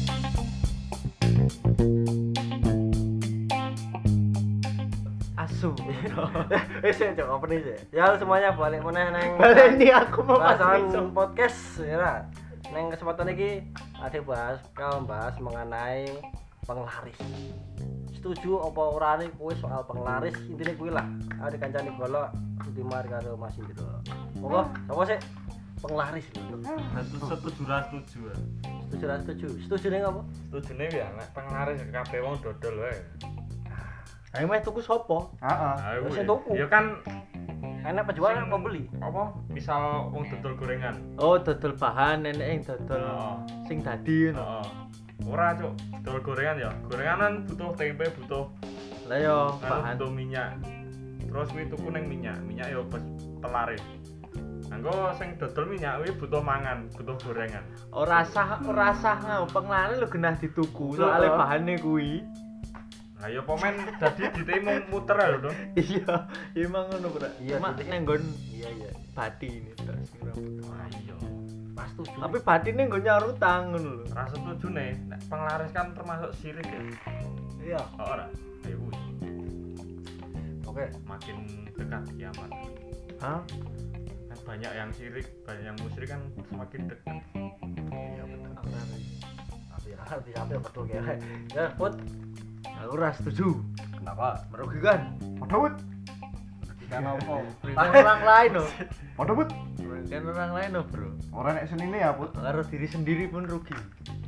nesu. Wis cok opening Eh, sih. Ya halo semuanya balik meneh neng. Baleni aku mau Bahasan pas nesu. podcast ya. lah. Neng kesempatan ini ada bahas kalau bahas mengenai penglaris. Setuju apa ora nih kowe soal penglaris intine kuwi lah. Ada kancane golok Timar karo Mas Indro. Monggo, sapa sih penglaris lho. satu satu jurah setuju Setuju ra setuju? Setuju ning apa? setuju nih ya nek penglaris ke kabeh wong dodol wae Ayo meh tuku sopo? Heeh. Ayo, Terus weh. yang tuku. Ah, ya kan Enak penjual enak pembeli. apa misal wong dodol gorengan Oh, dodol bahan nenek yang dodol Oh. Heeh. sing tadi ngono. heeh ora cuk dodol gorengan ya gorenganan butuh tempe butuh Lah yo anu bahan. butuh minyak terus kuwi tuku ning minyak minyak ya pes pelaris Anggo sing dodol minyak kuwi butuh mangan, butuh gorengan. Oh. Ora sah ora sah ngompeng lare lho genah dituku soalnya Heeh. bahane kuwi. Lah ya pomen dadi ditemu muter ya lho. Dong. Iya, iya emang ngono, Bro. Iya, Cuma titik. neng nggon Iya iya. bati ini Bro, sing rambut. Wah iya. Pas setuju. Tapi batine nggo nyarutang ngono lho. Rasa setuju nih, nek penglaris kan termasuk sirik ya. iya. Oh, ora. Ayo kuwi. Oke. makin dekat kiamat Hah? kan banyak yang sirik banyak yang musyrik kan semakin dekat Iya bener. Tapi ya, tapi sampai betul kere. Ya, put. Aku ora setuju. Kenapa? Merugikan. Padahal Ikan apa? Merugikan orang lain loh. Padahal Bud. Merugikan orang lain loh, Bro. Orang nek senine ya, Bud. Karo diri sendiri pun rugi.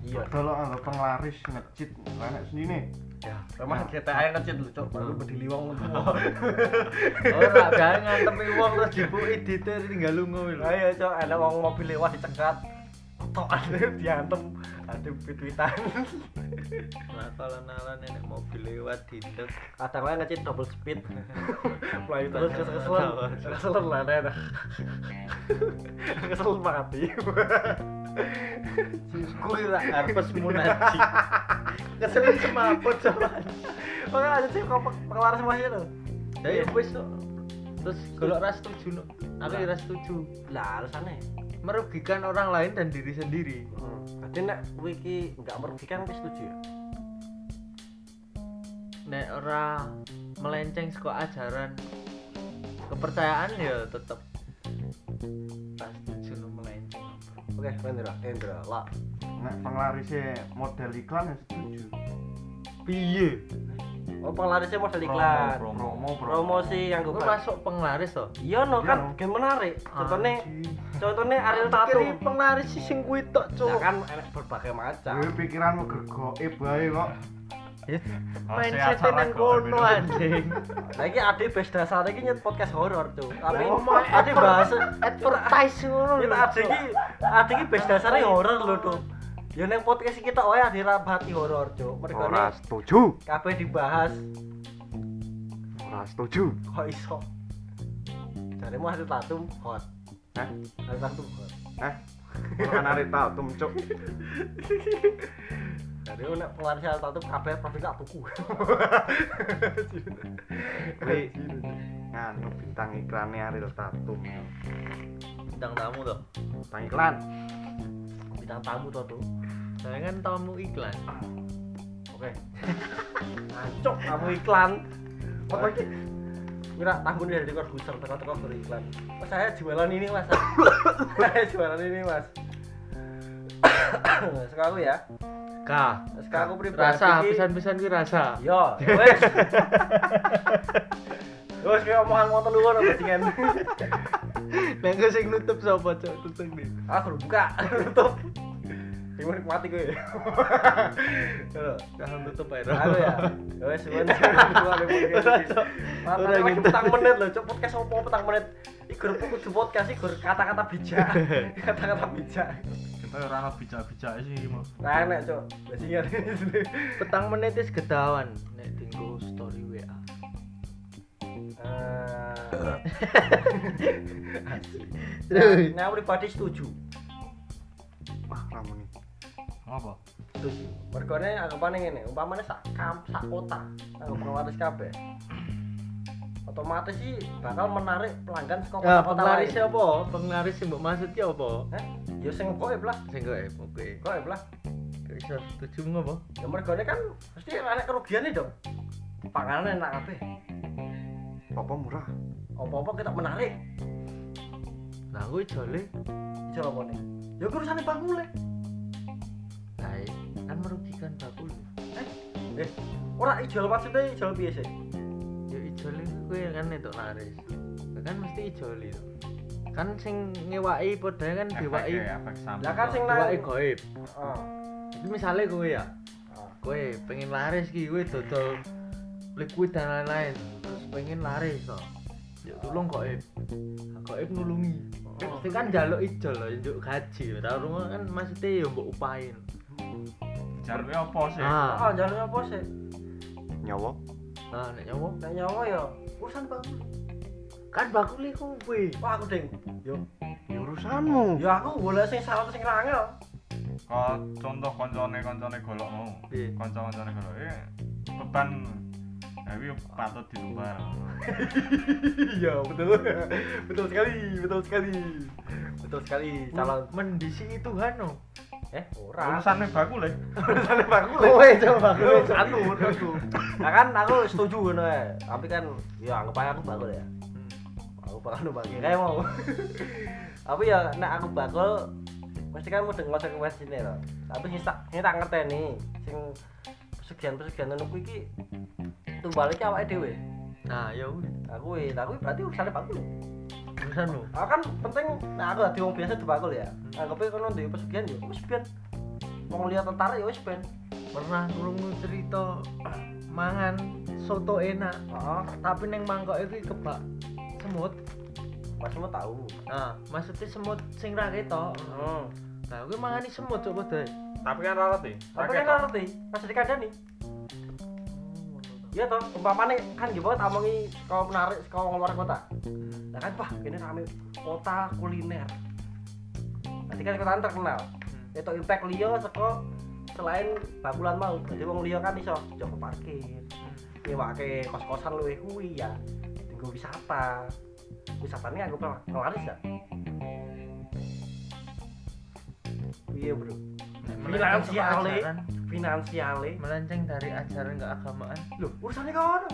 Iya. Delok anggap penglaris ngecit orang nek senine. Ya. Rumah GTA yang kecil lucu, baru berdiri wong ngono. Ora Oh, gawe ngantemi wong terus dibuki dite tinggal lunga kuwi lho. Ayo, cok, ada wong mobil lewat dicegat. Tok ada diantem, ada tweetan. Lah kalon-alon nek mobil lewat ditek. Kadang wae ngecit double speed. Mulai terus terus kesel. Tawar. Kesel lah ada. Kesel mati. Kuwi ra arepes munaji. Keselin semaput sama. Oke, ada sih kok pengelar semuanya lo. Ya ya wis kok. Terus golok ra setuju no. Aku ya ra setuju. Lah, alasannya. Merugikan orang lain dan diri sendiri. Hmm. Berarti nek wiki nggak merugikan wis setuju ya? Nek ora melenceng saka ajaran kepercayaan ya tetep ra setuju no melenceng. Oke, Rendra, Rendra, lah. Nek penglarisnya model iklan ya setuju. Piye? Oh, penglarisnya model iklan. Promo, promo. Promosi yang gue Gue masuk penglaris loh. Iya no Iya, no. kan, game menarik. Contohnya, Anjing. contohnya Ariel Tatum. Kiri penglaris sih sing kuwi tok, Ya Cuk. kan enak berbagai macam. Dewe pikiranmu gergoke bae kok. Main Harusnya sete acara nang keluar kono minum. anjing. Iya. Lagi ada base dasar ini nyet podcast horor tuh. Tapi Oh ngomong ada bahasa Advertise ngono kita iya. ada ini ada ini base dasarnya horor loh tuh. Ya neng podcast kita oh ya dirabati horor tuh. Mereka ini setuju. kabeh dibahas Ora setuju. kok iso. Dari mau Ariel Tatum hot. Hah? Ariel Tatum hot. Hah? Eh, Ora narik tau tumcuk. Dari nek pengaruh Ariel Tatum kabeh pasti gak tuku. Kuwi nganu bintang iklannya Ariel Tatum. Bintang tamu toh. Nah, Bintang iklan. Bintang tamu tuh tuh. Saya kan tamu iklan. Oke. Ancok kamu iklan. Apa iki? Kira tahun dari dekor gusar teko-teko baru iklan. Mas saya jualan ini mas. saya jualan ini mas. Sekarang aku ya. Ka. Sekarang aku pribadi. Rasa pisan-pisan kuwi rasa. Yo, wes. Wes kayak omongan mau telu ngono bajingan. Nek gue sing nutup sapa, Cuk? Tutup nih. Ah, Aku udah buka tutup. Timur mati gue. Yo. Jangan tutup ae. Halo ya. Ya wes semuanya Ora lagi petang menit lho, cok podcast opo petang menit. Iki grup kudu podcast iki gur kata-kata bijak. Kata-kata bijak. kita ora ana bijak-bijak sih iki mau Nah, enak cok. Bajingan ini. Petang menit wis gedawan nek dinggo story WA. Eh. Nah, aku pribadi setuju. Wah, ramune. apa Setuju. Mergone anggapane ngene, umpamane sak kam, sak kota, aku pengawaris kabeh. Otomatis sih bakal menarik pelanggan saka Nah, kota-kota lain. penglaris apa? Penglaris sing mbok maksud ki apa? Hah? Ya sing goib lah, Sing kowe oke. goib lah. Kok iso setuju ngopo? ya mergane kan mesti enak kerugiannya dong panganan enak kabeh Apa murah? Apa-apa kita menarik. Nah, kuwi jole. Ijo apa nih? Ya kuwi urusane bakul le. Lah, kan merugikan bakul. Eh, ora ijol maksudnya ijol piye sih? Ya ijole kuwi kan entuk laris. Kan mesti ijole. Kan sing ngewaki padha kan efek diwaki. ya efek samping Lah kan sing nang Diwaki goib. Ah, Iki misale kowe ya, ah. kowe pengen laris ki kowe dodol liquid dan lain-lain. Terus pengen laris to. Yuk tolong goib. Goib nulungi. Oh. Mesti kan njaluk ijol lho, njuk gaji. Lah rumah kan maksudnya ya mbok upahin. jalurnya apa sih Ah, Ah, jalan apa sih? Nyawa? nah nek nyawa Nek nyawa ya urusan bakul. kan bakul iku kowe. Wah, aku ding. Yo, Ya urusanmu. ya aku golek sing salah sing ra angel. kok contoh koncone koncone golok mau Piye? konco koncone golok eh beban ya wih patut ditumbar Iya, betul. betul sekali, betul sekali. Betul sekali calon. mendisi Tuhan no. Eh, ora. urusannya baku leh Urusane bakul. le. Kowe coba kowe. anu menurutku nah kan aku setuju ngono ya tapi kan ya anggap aja aku bakul ya aku bakul bagi kayak mau tapi ya nek aku bakul mesti kan mudeng ngocok wesine lho tapi sing tak sing tak ngerteni sing pesugihan-pesugihan ngono kuwi iki tumbale ki awake dhewe Nah, ya kuwi aku kuwi aku berarti urusane bakul urusan lo. aku kan penting nah aku dadi wong biasa dibakul ya anggapnya kono duwe pesugihan ya wis ben mau lihat tentara ya wis ben Pernah krungu cerita mangan soto enak, heeh tapi neng mangkok itu kebak semut. masmu tahu Nah, maksudnya semut sing ra ketok. heeh Nah, kuwi mangani semut coba deh. Hmm. tapi kan ralat e. nih Tapi kan ora ngerti, masih dikandani. Iya toh, umpamane kan gitu banget omongi kau menarik kau ngomong luar kota. Nah kan wah ini rame kota kuliner. Pasti kan kota terkenal. Itu impact liyo seko selain bakulan mau, jadi wong liyo kan iso joko parkir. Nyewake kos-kosan luwe kuwi ya. Tinggo wisata. Wisatanya aku pernah ngelaris ya. Iya bro, Hmm. finansiale, ajaran, finansiale melenceng dari ajaran keagamaan. Loh, urusannya kono.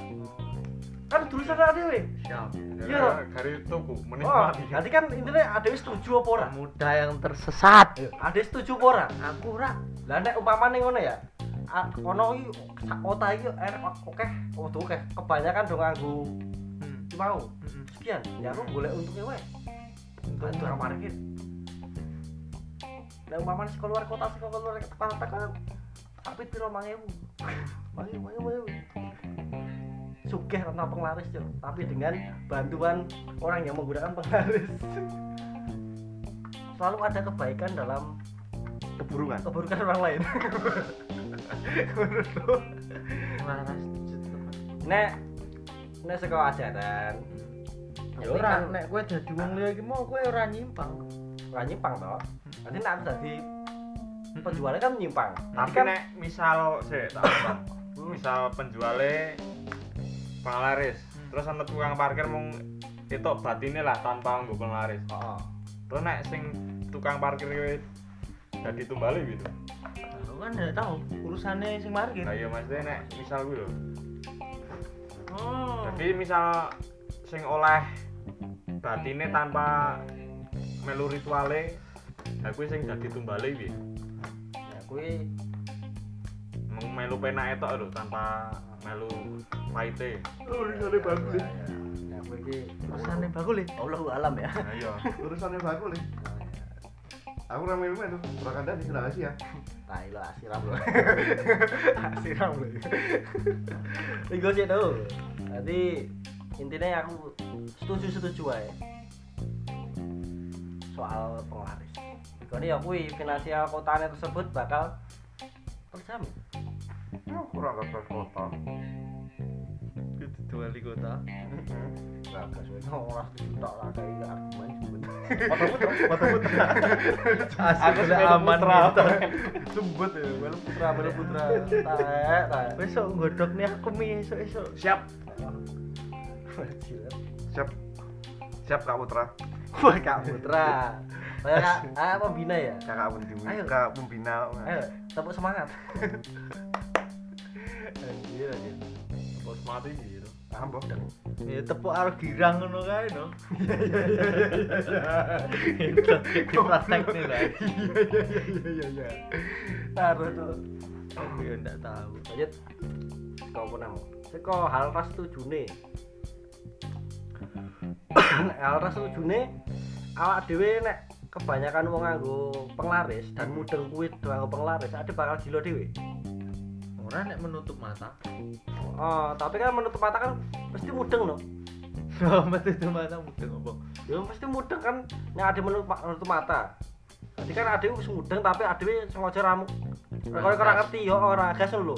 Kan tulisan ada we. Siap. Iya. dari tuku Oh, menikmati nanti kan intinya ada yang setuju apa ora? Pemuda yang tersesat. Ada yang setuju apa ora? Aku ra Lah nek umpamane ngono ya. a- Ono iki sak kota iki er oke, waduh oke. Kebanyakan dong nganggo Hmm, iki mau. hmm, Sekian, ya aku golek untungnya wae. hmm. Kan tukang parkir. Lah umpamane saka luar kota saka luar kota tekan tapi piro 1000. Mangi mangi mangi. Sugih tanpa penglaris, Cuk. Tapi dengan bantuan orang yang menggunakan penglaris. Selalu ada kebaikan dalam Keburungan. keburukan orang lain. Menurut lu? Waras jujur. Nek nek saka ajaran. Ya ora, nek kowe dadi wong liya iki mau kowe ora nyimpang. ora nyimpang to. Nanti nek aku dadi penjualnya kan menyimpang. Tapi tapi kan nek misal sih tak apa. misal penjualnya penglaris Hmm. terus ana tukang parkir mung itu batine lah tanpa nggo penglaris Oh, terus nek sing tukang parkir kuwi dadi tumbale gitu Aku kan ndak tahu urusane sing gitu. parkir. nah iya maksudnya nek misal kuwi lho Oh. Hmm. jadi misal sing oleh batine tanpa melu rituale nah kuwi sing dadi tumbale kuwi Ya kuwi mung melu penak etok lho tanpa melu paite oh ini bagus ya kuwi iki Urusane bakul iki. Allah alam ya. nah iya Urusannya bagus nih. Nah, iya. Aku rame-rame tuh. Prakanda di Sulawesi ya. Nah, ilo asiram lho. asiram lho. Iku sih to. Jadi intinya ya aku setuju-setuju ae. Soal penglaris. Karena ya kuwi finansial kotanya tersebut bakal terjamin. Ya, kurang kasar kota. Kudu wali kota. Nah, kasuwe ora ditok lah kayak gak argumen sebut. Mata putra, mata putra. Aku sudah putra. gitu. Sembut ya, welu putra, welu putra. Taek, taek. Besok nggodhok nih aku mi esuk-esuk. Siap, Jilat. siap. Siap Kak Putra, Wah, Kak Putra. Kayak apa bina ya? kakak pembina, Ayo. kakak pembina. Eh, Ayo, tepuk semangat. anjir, anjir. bos mati gitu Ambo. Iya, Ya tepuk karo girang ngono kae no. Itu praktekne lah. Iya iya iya. taruh tuh Aku ya ndak tahu. lanjut kau pun nemu kau hal ras tuh june hal ras tuh june awak dewe nek kebanyakan wong nganggo penglaris dan mudeng kuwi nganggo penglaris ada bakal gila dewe Ora nek menutup mata. oh tapi kan menutup mata kan pasti mudeng no Oh, menutup mata mudeng opo? ya pasti mudeng kan yang ada menutup, menutup mata jadi kan ada yang mudeng tapi ada yang sengaja ramu kalau Ragas. kurang ngerti ya orang gas lo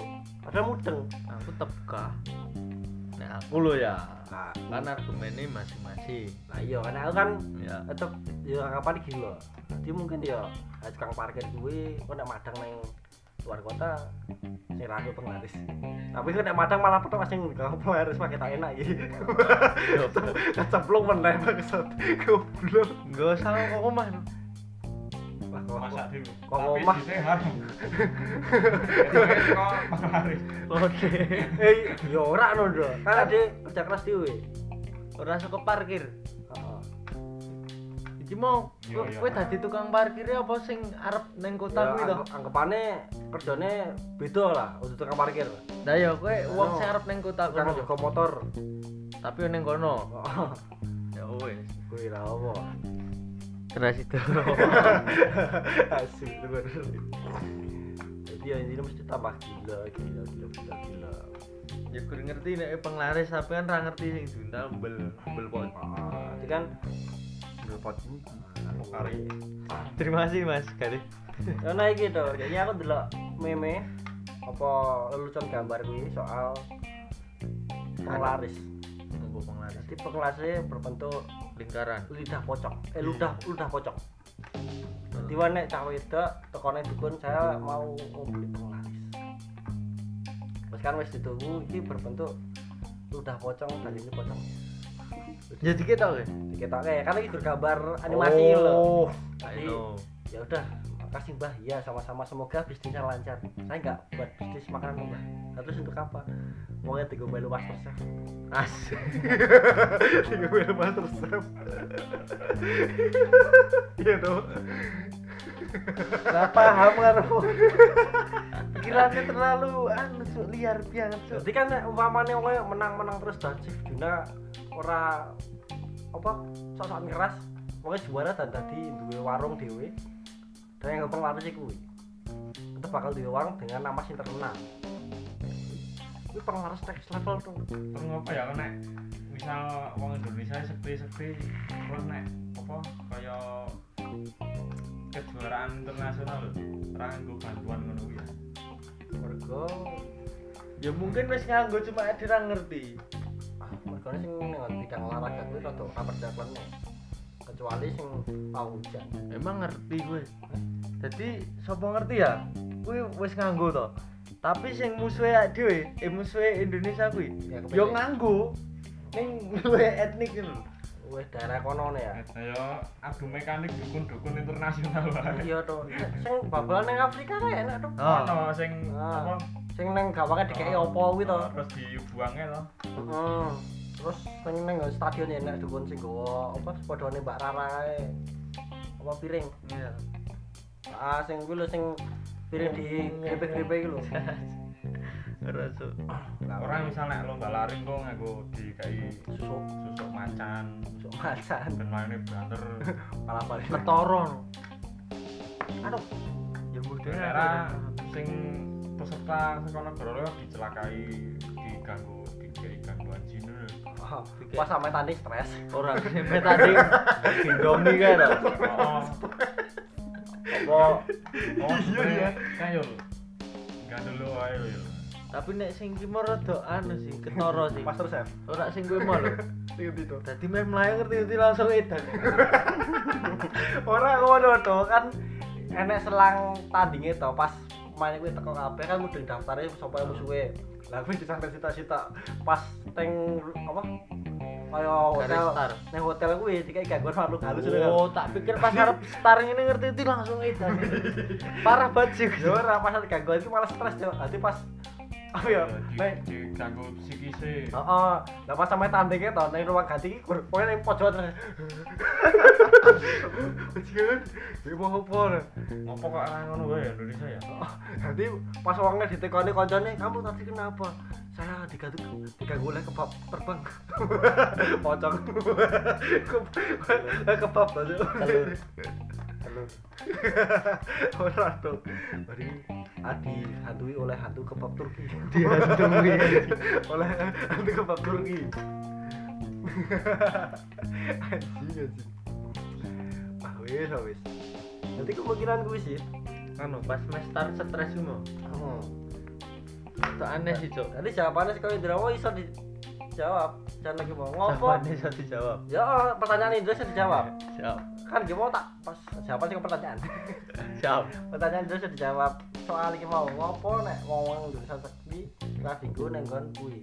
ada mudeng Aku tepkah. Nek aku lo ya. nah, Kan argumennya masing-masing. nah iya karena aku kan Ya. tetep ya anggapan gila jadi mungkin ya eh, tukang parkir gue kok nek madang neng luar kota sing rado penglaris tapi kok nek madang malah petok sing kalau penglaris pakai tak enak gitu kecemplung meneh maksud goblok Enggak usah kok omah. no. lah masak kok dulu Kok ngomah? tapi sini harum Jadi, kok penglaris Lode. eh ya ora no Dok. kan ade kerja keras dhewe Ora suka parkir. heeh Iki mau Iya, iya. kowe dadi tukang parkir apa sing arep neng kota ya, kuwi to? angg- anggapane kerjane beda lah untuk tukang parkir Lah ya kowe wong Ano. sing arep neng kota tukang kono. jaga motor Tapi neng kono. Heeh. Ya wis. kuwi lah apa Terus itu. asik itu bener jadi yang ini mesti tambah gila gila gila gila gila Ya kurang ngerti nek penglaris tapi kan ra ngerti sing duntal bel bel pot. Ah, itu kan Ambil pot ini. aku kari Terima kasih Mas Garis. karena gitu jadi aku delok meme apa lelucon gambar gue soal penglaris Monggo penglaris. jadi penglarisnya berbentuk Lingkaran. lidah pocong eh ludah ludah pocong jadi wanek cah wedok tekone dukun saya mau ngopi penglaris terus kan wis ditunggu ini berbentuk ludah pocong dan ini pocong Jadi kita oke. diketoknya karena itu gambar animasi oh. loh I Jadi- know. ya udah makasih mbah ya sama-sama semoga bisnisnya lancar saya nggak buat bisnis makanan mbah nah, terus untuk apa uangnya tiga puluh luas persen Asik. Tiga gue lepas terus. Iya tuh. nggak paham kan Pikirannya terlalu anu Cuk, liar banget Cuk. jadi kan umpamanya uangnya menang-menang terus dan Chief Juna ora apa sosok keras uangnya juara dan tadi duwe warung dewe dan yang ngepeng laris itu itu bakal duwe warung dengan nama sing terkenal itu penglaris next level tuh terus apa ya nek misal wong Indonesia sepi-sepi terus nek apa kaya kejuaraan internasional ra nganggo bantuan ngono kuwi ya mergo Ya mungkin wis nganggo cuma dia ra ngerti. mereka Ah, sing dengan bidang olahraga kuwi rada ora percaya klennya. kecuali sing mau hujan Emang ngerti gue. Jadi sapa ngerti ya? Kuwi wis nganggo to. Tapi sing musuhe awake dhewe, eh musuhe Indonesia kuwi. Ya, kepengen. Yo nganggo ning luwe etnik ngono. wes daerah kono nih ya kaya adu mekanik dukun-dukun internasional wae iya tuh sing babalan neng Afrika kayak enak tuh Oh. ono sing Ah. apa sing neng gawangnya dikei opo kuwi to terus dibuange to Heeh. terus sing neng stadion ya enak dukun sing gowo apa sepadone Mbak Rara kae. apa piring Iya. ah sing kuwi lho sing piring di grepe-grepe iki lho Ora Cuk. orang misalnya lomba lari kok nganggo dikai susuk susuk macan susuk macan dan mainnya banter malah balik Ketoro. no. Aduh. Ya mudeng daerah sing peserta sekolah negara lewat dicelakai diganggu dikai gangguan jin lho. pas sama tadi stres Ora SMP tadi Indomie kae to. oh apa oh iya iya kayo gak dulu ayo yo Tapi nek sing ki mau rada anu sih, ketoro sih. Master Chef. Ora sing kuwi mau lho. Tiga itu. Dadi main melayu ngerti-ngerti langsung edan. Ora ngono to kan enek selang tandinge to pas main kuwi teko kabeh kan mudeng daftare sapa yang musuhe. Lah kuwi disampe cita-cita pas teng apa kaya hotel Garis star. nang hotel kuwi dikai gangguan makhluk Oh, halus Oh, tak pikir pas arep star ngene ngerti-ngerti langsung edan. Parah banget sih. Ya ora pas ada gangguan itu malah stres yo. Dadi pas Oh iya, neng Di ganggu psikise. Oh, oh. Lah pas sampe tandingnya to neng ruang ganti iki kur- pokoknya neng pojok terus. Jangan, ya mau apa lah. Ngopo kok ana ngono wae ya Indonesia ya? Nanti pas orangnya ditekoni koncone, kamu tadi kenapa? Saya diganggu diganggu oleh kebab terbang. Pocong. Keb- eh, kebab tadi. Telur. Telur. Ora to. Bari adi hantui oleh hantu kebab Turki. Dihantui. oleh hantu kebab Turki. anjing anjing. Ah wis ah, wis. Nanti ya. kemungkinan gue sih. Anu pas mestar stres ku mau. Oh. Itu aneh sih, Cok. Tadi jawabannya sih kalau Indra mau iso dijawab. Jangan lagi mau ngopo. Jawabannya bisa dijawab. Ya pertanyaan Indra sudah dijawab. Siap. Kan gimana tak pas jawaban sih ke pertanyaan. Siap. pertanyaan Indra sudah dijawab. Soal iki mau ngopo nek wong-wong Indonesia iki ladiku neng kon kuwi.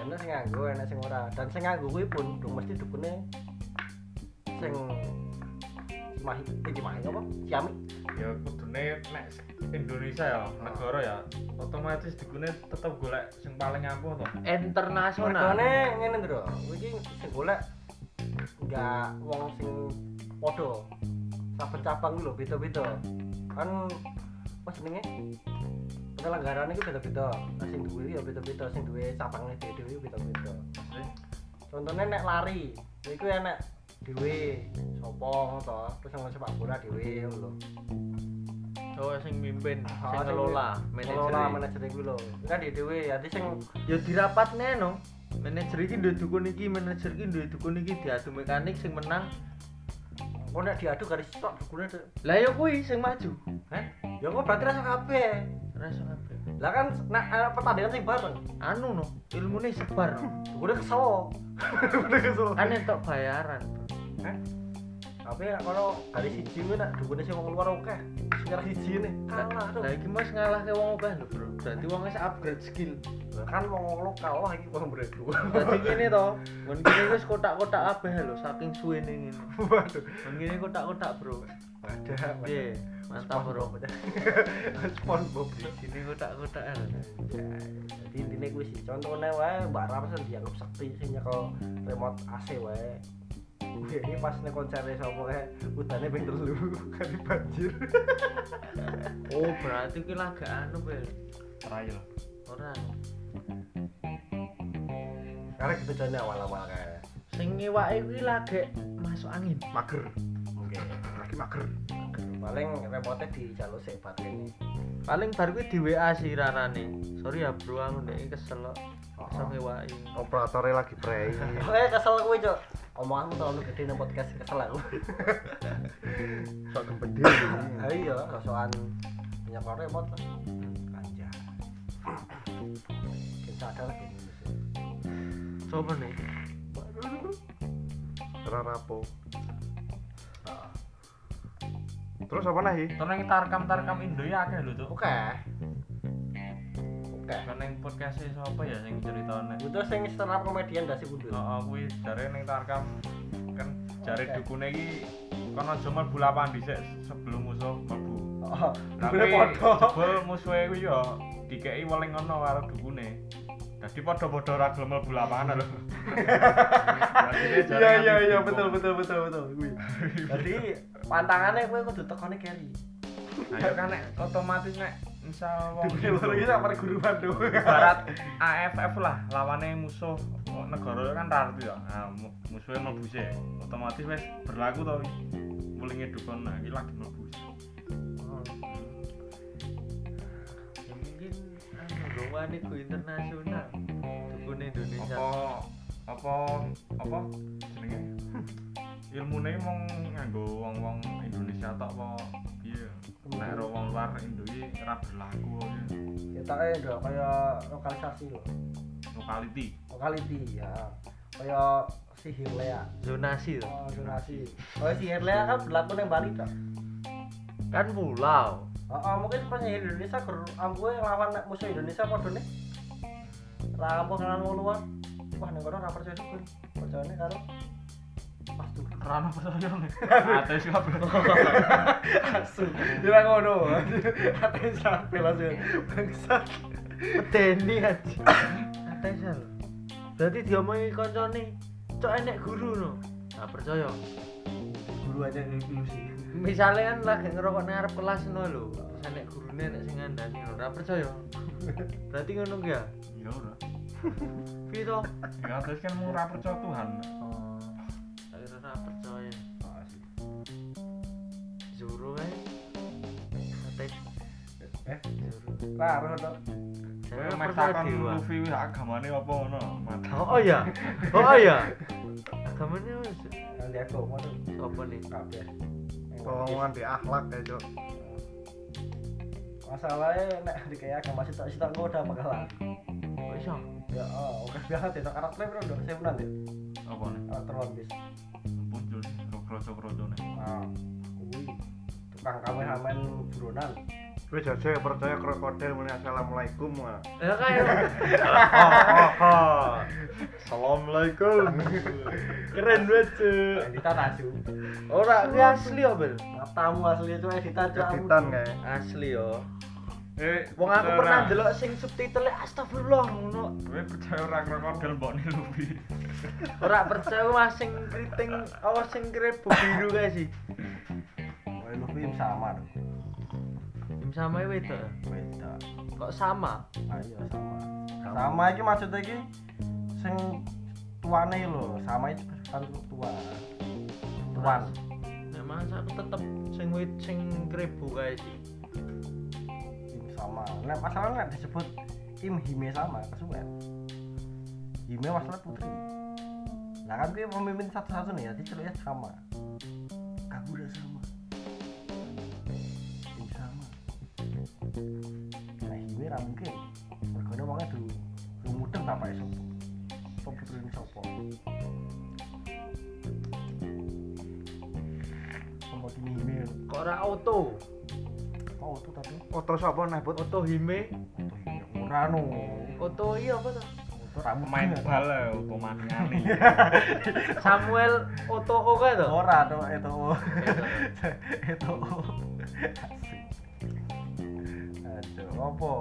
Enak sing nganggo, enak sing ora. Dan sing nganggo kuwi pun dong mesti dukune sing Cimahi, eh, Cimahi apa? Ciamik. Ya kudune nek Indonesia ya, negara ya, otomatis digune tetep golek sing paling ampuh to. Internasional. Mergane ngene lho, kuwi iki sing golek enggak wong sing padha. Saben cabang kuwi lho beda-beda. Kan apa jenenge? Penyelenggaraan iku beda-beda. Nah, sing duwe ya beda-beda, sing duwe cabangnya dhewe-dhewe beda-beda. Contohnya nek lari, iku enek dhewe sapa ngono to, terus nang sepak bola dhewe ngono lho. Oh, sing mimpin, Ah, sing sing ngelola, Ngelola manajer. manajer iku lho. Kan dhewe ya, sing Ya dirapat neno. Manajer iki duwe dukun iki, manajer iki duwe dukun iki diadu mekanik sing menang. kok oh, nek diadu garis tok gune. Lah ya kuwi sing maju. Hah? Ya kok berarti rasa kabeh. Rasa kabeh. lah kan nah, eh, pertandingan sing bareng Anu no, ilmune sebar. udah kesel udah kesel Kan entuk bayaran. tapi nek kalau kali siji gue nak dukune sing wong luar oke secara siji nih kalah tuh Lah iki mos ngalahke wong obah lho, Bro. Berarti wong wis upgrade skill. Lah kan wong wong lokal wah iki wong bredu Dadi ngene to, mun kene wis kotak-kotak abeh lho saking suwene ngene. waduh Mun kene kotak-kotak, Bro. ada Nggih, mantap, Bro. SpongeBob Sini kotak-kotak lho. Iya, jadi intinya gue sih contohnya wae mbak Ramson dianggap sakti sih kalau remote AC wae gue ini pas nih konsernya sama kayak utannya beng terlalu kali banjir Oh, berarti iki laga anu, Bel. Trial. Ora. karena gitu contohnya awal-awal kayak Sing ngewake kuwi lagek masuk angin. mager mungkin lagi mager paling repotnya di jalur sebat ini Paling bar kuwi di WA sih rarane. Sorry ya, Bro, aku ndek iki kesel kok. Iso ngewaki. operatornya lagi prei oke kesel gue cok omonganmu terlalu gede nih podcast kesel aku sok gembede Ah, iya sosokan punya kau remote lah kanja kita ada lagi nih, Mas. Sopo nih? ora rapo terus apa nih Terus tarkam-tarkam Indo ya akeh lho, Cuk. oke oke Kan ning podcast e sapa ya sing ceritane? butuh yang stand up komedian dari Heeh, Budul oh, kuwi jare ning tarkam kan jare Hmm. Oke. dukune iki kon aja mlebu lapangan dhisik sebelum musuh mlebu. oh Tapi jebul musuhe kuwi ya dikeki weling ngono karo dukune. Dadi padha-padha ra gelem mlebu lapangan lho. Berarti jare iya iya nganti iya dukung. betul betul betul betul gue jadi pantangannya gue kudu tekonnya carry Ayo kan nek otomatis nek misal wong Dukungnya baru kita apa guruan dong barat AFF lah lawannya musuh negara kan rarti ya nah, mu- musuhnya mlebu sih otomatis wes berlaku tau mulingnya dukun nah ini lagi mlebu sih. Ya mungkin anu gawane go internasional. Dukun Indonesia. apa apa apa jenenge Hmm. ilmune mong nganggo wong-wong Indonesia tok apa piye nek ro wong luar Indo iki ora berlaku ya kita eh udah kayak lokalisasi loh locality lokaliti ya kayak si Hirlea Zonasi to. oh, donasi oh si Hirlea kan berlaku yang Bali tuh Kan pulau. oh, oh, mungkin penyair Indonesia gur ambu lawan musuh Indonesia apa dulu rampok kelan luar wah nih orang rapor jadi pun percayanya karo pas tuh rano percaya nih ateis kabeh asu dia ngono ateis sampai langsung bangsat Medeni aja. Katanya lho. Berarti diomongi koncone, cok enek guru no. Gak percaya. guru aja yang ilusi Misalnya kan lagi ngerokok nang arep kelas no lho. Terus enek gurune enek sing ngandani lho. Gak percaya. Berarti ngono ki ya. iya ora Piye to? ya terus kan mau ora percaya Tuhan Saya kira gak percaya. Juru ae. Katanya eh juru. taruh dong Saya Kayak gak percaya matakan dewa. Luffy wis agamane apa ngono mata Oh, oh ya. Oh ya. Agamanya wis nanti aku mau tuh apa nih? kabeh Oh, Tolongan di akhlak ya cok. masalahnya nek di kayak agama masih tak sih tak goda bakalan Oh iso. ya oh oke banget ya tak karakter bro udah ya? saya bulan deh apa nih karakter one piece punjul kroco-krocone nah kuwi tukang kameramen buronan Gue jajah ya percaya krokodil muni assalamualaikum. wah. Ya kayak Oh, Assalamualaikum. keren banget cuy Edita tasu ora kuwi asli yo bel matamu asli itu Edita cok aku. Kreditan kayak. asli yo eh wong aku percaya pernah ora? delok sing subtitle astagfirullah ngono gue percaya ora krokodil mbokne Luffy ora percaya wah sing keriting apa sing krebuk biru kae sih Wah, lu film sama dong Im sama itu beda kok sama ayo sama sama iki maksudnya iki sing tuane lho sama itu kan tua tuan memang Ya, aku tetep sing wit sing krebuk kae sih Im sama nah masalahnya nek disebut im hime sama kesuwen hime masalah putri nah kan gue pemimpin satu-satu nih ya diceluknya sama kagura sama im sama nah hime ra mungkin mergane wonge dulu lu mudeng tampake sopo sopo putri ini sopo sopo ini hime kok ora auto oh itu tapi Oto sapa nih bot? auto hime Tuh, iya, Murano auto iya apa tuh itu ramu main bal ya otomaniani Samuel Oto O kae to ora tuh itu itu asik aduh apa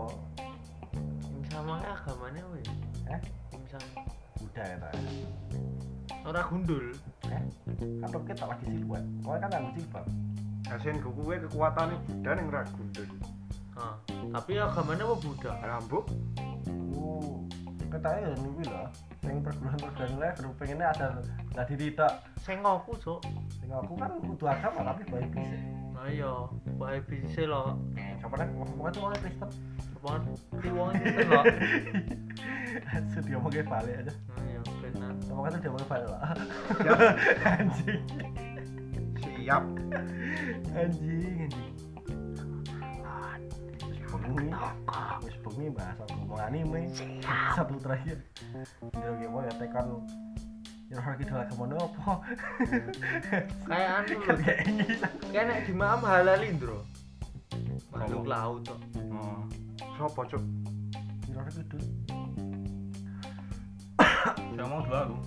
Im sama kae agamane wis eh Im sama udah ya ta ora gundul eh kalau kita lagi siluet kau kan nggak silbab Asin kuku gue kekuatannya Buddha yang ragu dun. ha tapi agamane apa Buddha Rambut lu kita ya nunggu lah yang perguruan perguruan lah terus pengennya ada tadi tidak sing ngoku cuk yang aku kan kudu agama tapi baik bisa Ayo, iya. wae bisa lo. siapa nih ngomong itu orang Kristen Seperti wong itu lo. sudah ngomongnya balik aja Ayo, benar. ngomong itu dia ngomongnya balik lah anjing siap. anjing anjing Wis bengi wis bengi bahas aku mau anime satu terakhir ya oke mau ya tekan ya lagi dalam kemana apa Kayak anu lo. kan kayak ini Kayak nek di maam halalin, Bro. Makhluk laut to. oh Sapa cok? ya lagi dulu saya mau dulu aku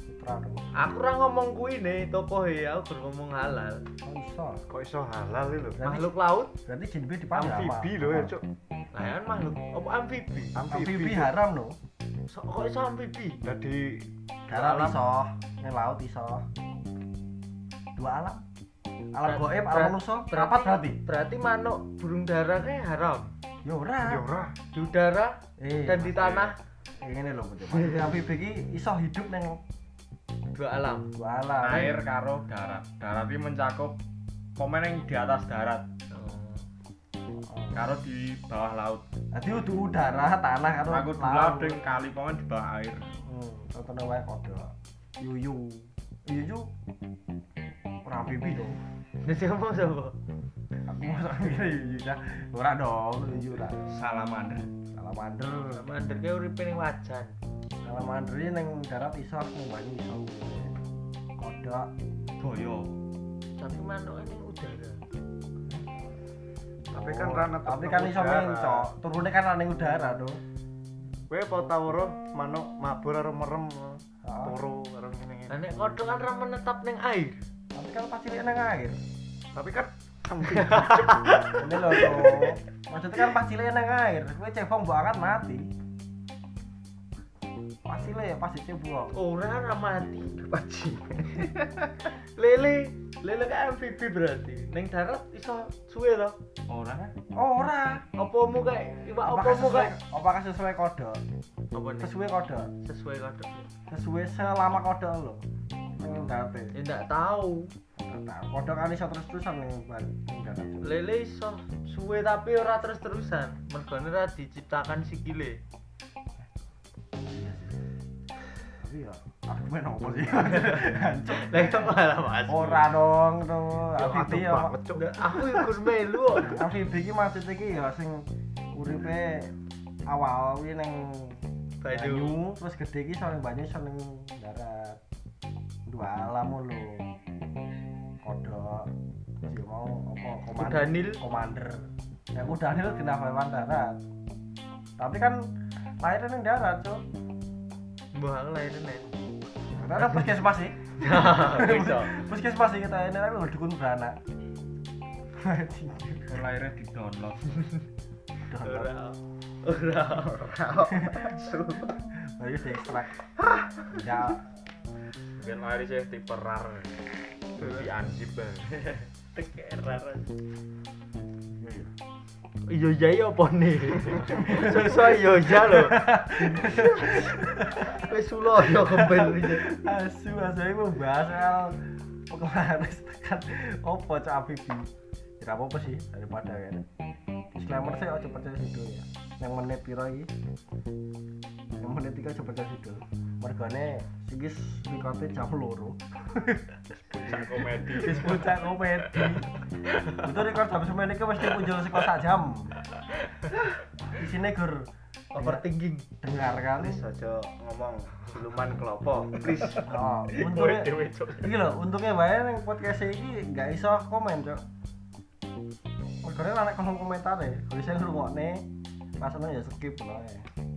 putra dong Aku ora ngomong kuwi ne tokoh ya, aku gur ngomong halal. oh bisa Kok iso halal ini lho? Makhluk laut, berarti jinbe dipanggil apa? Amfibi lho ya cok. lah kan makhluk apa amfibi. amfibi Amfibi. haram no So, kok iso amfibi? Jadi darat iso neng laut iso dua alam alam Berat- goib berat- alam nusa rapat berarti Berarti manuk burung dara kayak haram. ya ora ya ora. Di udara eh dan di tanah ini loh Mas. amfibi ini iso hidup neng dua alam. dua alam air karo darat darat ini mencakup pemain yang di atas darat Oh. karo di bawah laut Jadi udah udara, tanah atau aku dulu laut. ding kali pemain di bawah air Hmm, contohnya wae kode. Yuyu. Yuyu. Ora pipi dong. Jadi ngomong sapa? Aku masak mikir yuyu dah. Ora dong, yuyu ora. salamander Salamander. Mandek kayak uripe ning wajan. Salamander ini neng darat iso neng banyu iso. Kodok. boyo Tapi manuk ini udara. Tapi kan rana Tapi kan iso menco. Turune kan ana ning udara dong. Gue apa tau ora manuk mabur karo merem. Ah. Toro karo ngene-ngene. Nah, nek kodok kan ra menetap ning air. Tapi kan pasti nek nang air. Tapi kan samping. ini loh tuh maksudnya kan pas cilik nang air gue cebong mbok angkat mati pas cilik ya pas cebong Orang ra mati wajib. lele, lele kan amfibi berarti. Neng darat iso suwe to. Ora. oh ora Opomu kae, iwak apakah opomu sesuai kae. apakah sesuai kode Apa nih? sesuai kode Sesuai kodok. sesuai selama kode lo Ngerti. Ya ndak tahu. Kode kan iso terus-terusan nih, Bang. Ngerti. Lele iso suwe tapi ora terus-terusan. Mergone ra diciptakan sikile. Tapi ya, argumen apa sih? Hancur. Lah itu malah Mas. Ora dong tuh. Ya, Amfibi aduh ya. banget, Cuk. Nggak, aku ikut melu. kok. Amfibi iki maksud iki ya sing uripe awal kuwi ning Banyu. banyu, terus gede iki sono banyu sono ning darat. Dua alam lho. Kodok. Terus ya mau apa komander. Kuda Nil. Komander. Ya kuda Nil kenapa hewan darat? Tapi kan lahirnya ning darat, Cuk. Mbah aku lahirne. Karena puskesmas sih. Iso. Puskesmas sih kita ini tapi udah dukun beranak. Lahirnya di download. Ora. Ora. Baru di ekstrak. Ya, Mungkin lahir sih tipe rar. Di ansip. Tekerar. Iya iya iya apa nih? Sosok iya iya lho. Wis sulo ya kebel iki. asu asu ini membahas soal penglaris tekan opo cak Abibi. Kira apa sih daripada ya. Disclaimer saya ojo percaya sidul ya. Yang menit piro iki? Yang menit iki ojo percaya sidul. Mergane sikis rikote jam loro. Puncak komedi. Wis puncak komedi. Betul rekor jam semene iki mesti punjul seko sak jam. Isine gur Overthinking. dengar kali. Please aja ngomong siluman kelopo. Please. Oh, Kowe untungnya dhewe cuk. iki lho, untungnya wae ning podcast iki gak iso komen, Cok. Mergane anak kono komentar e, kalau saya ngrungokne pas ono ya skip lho.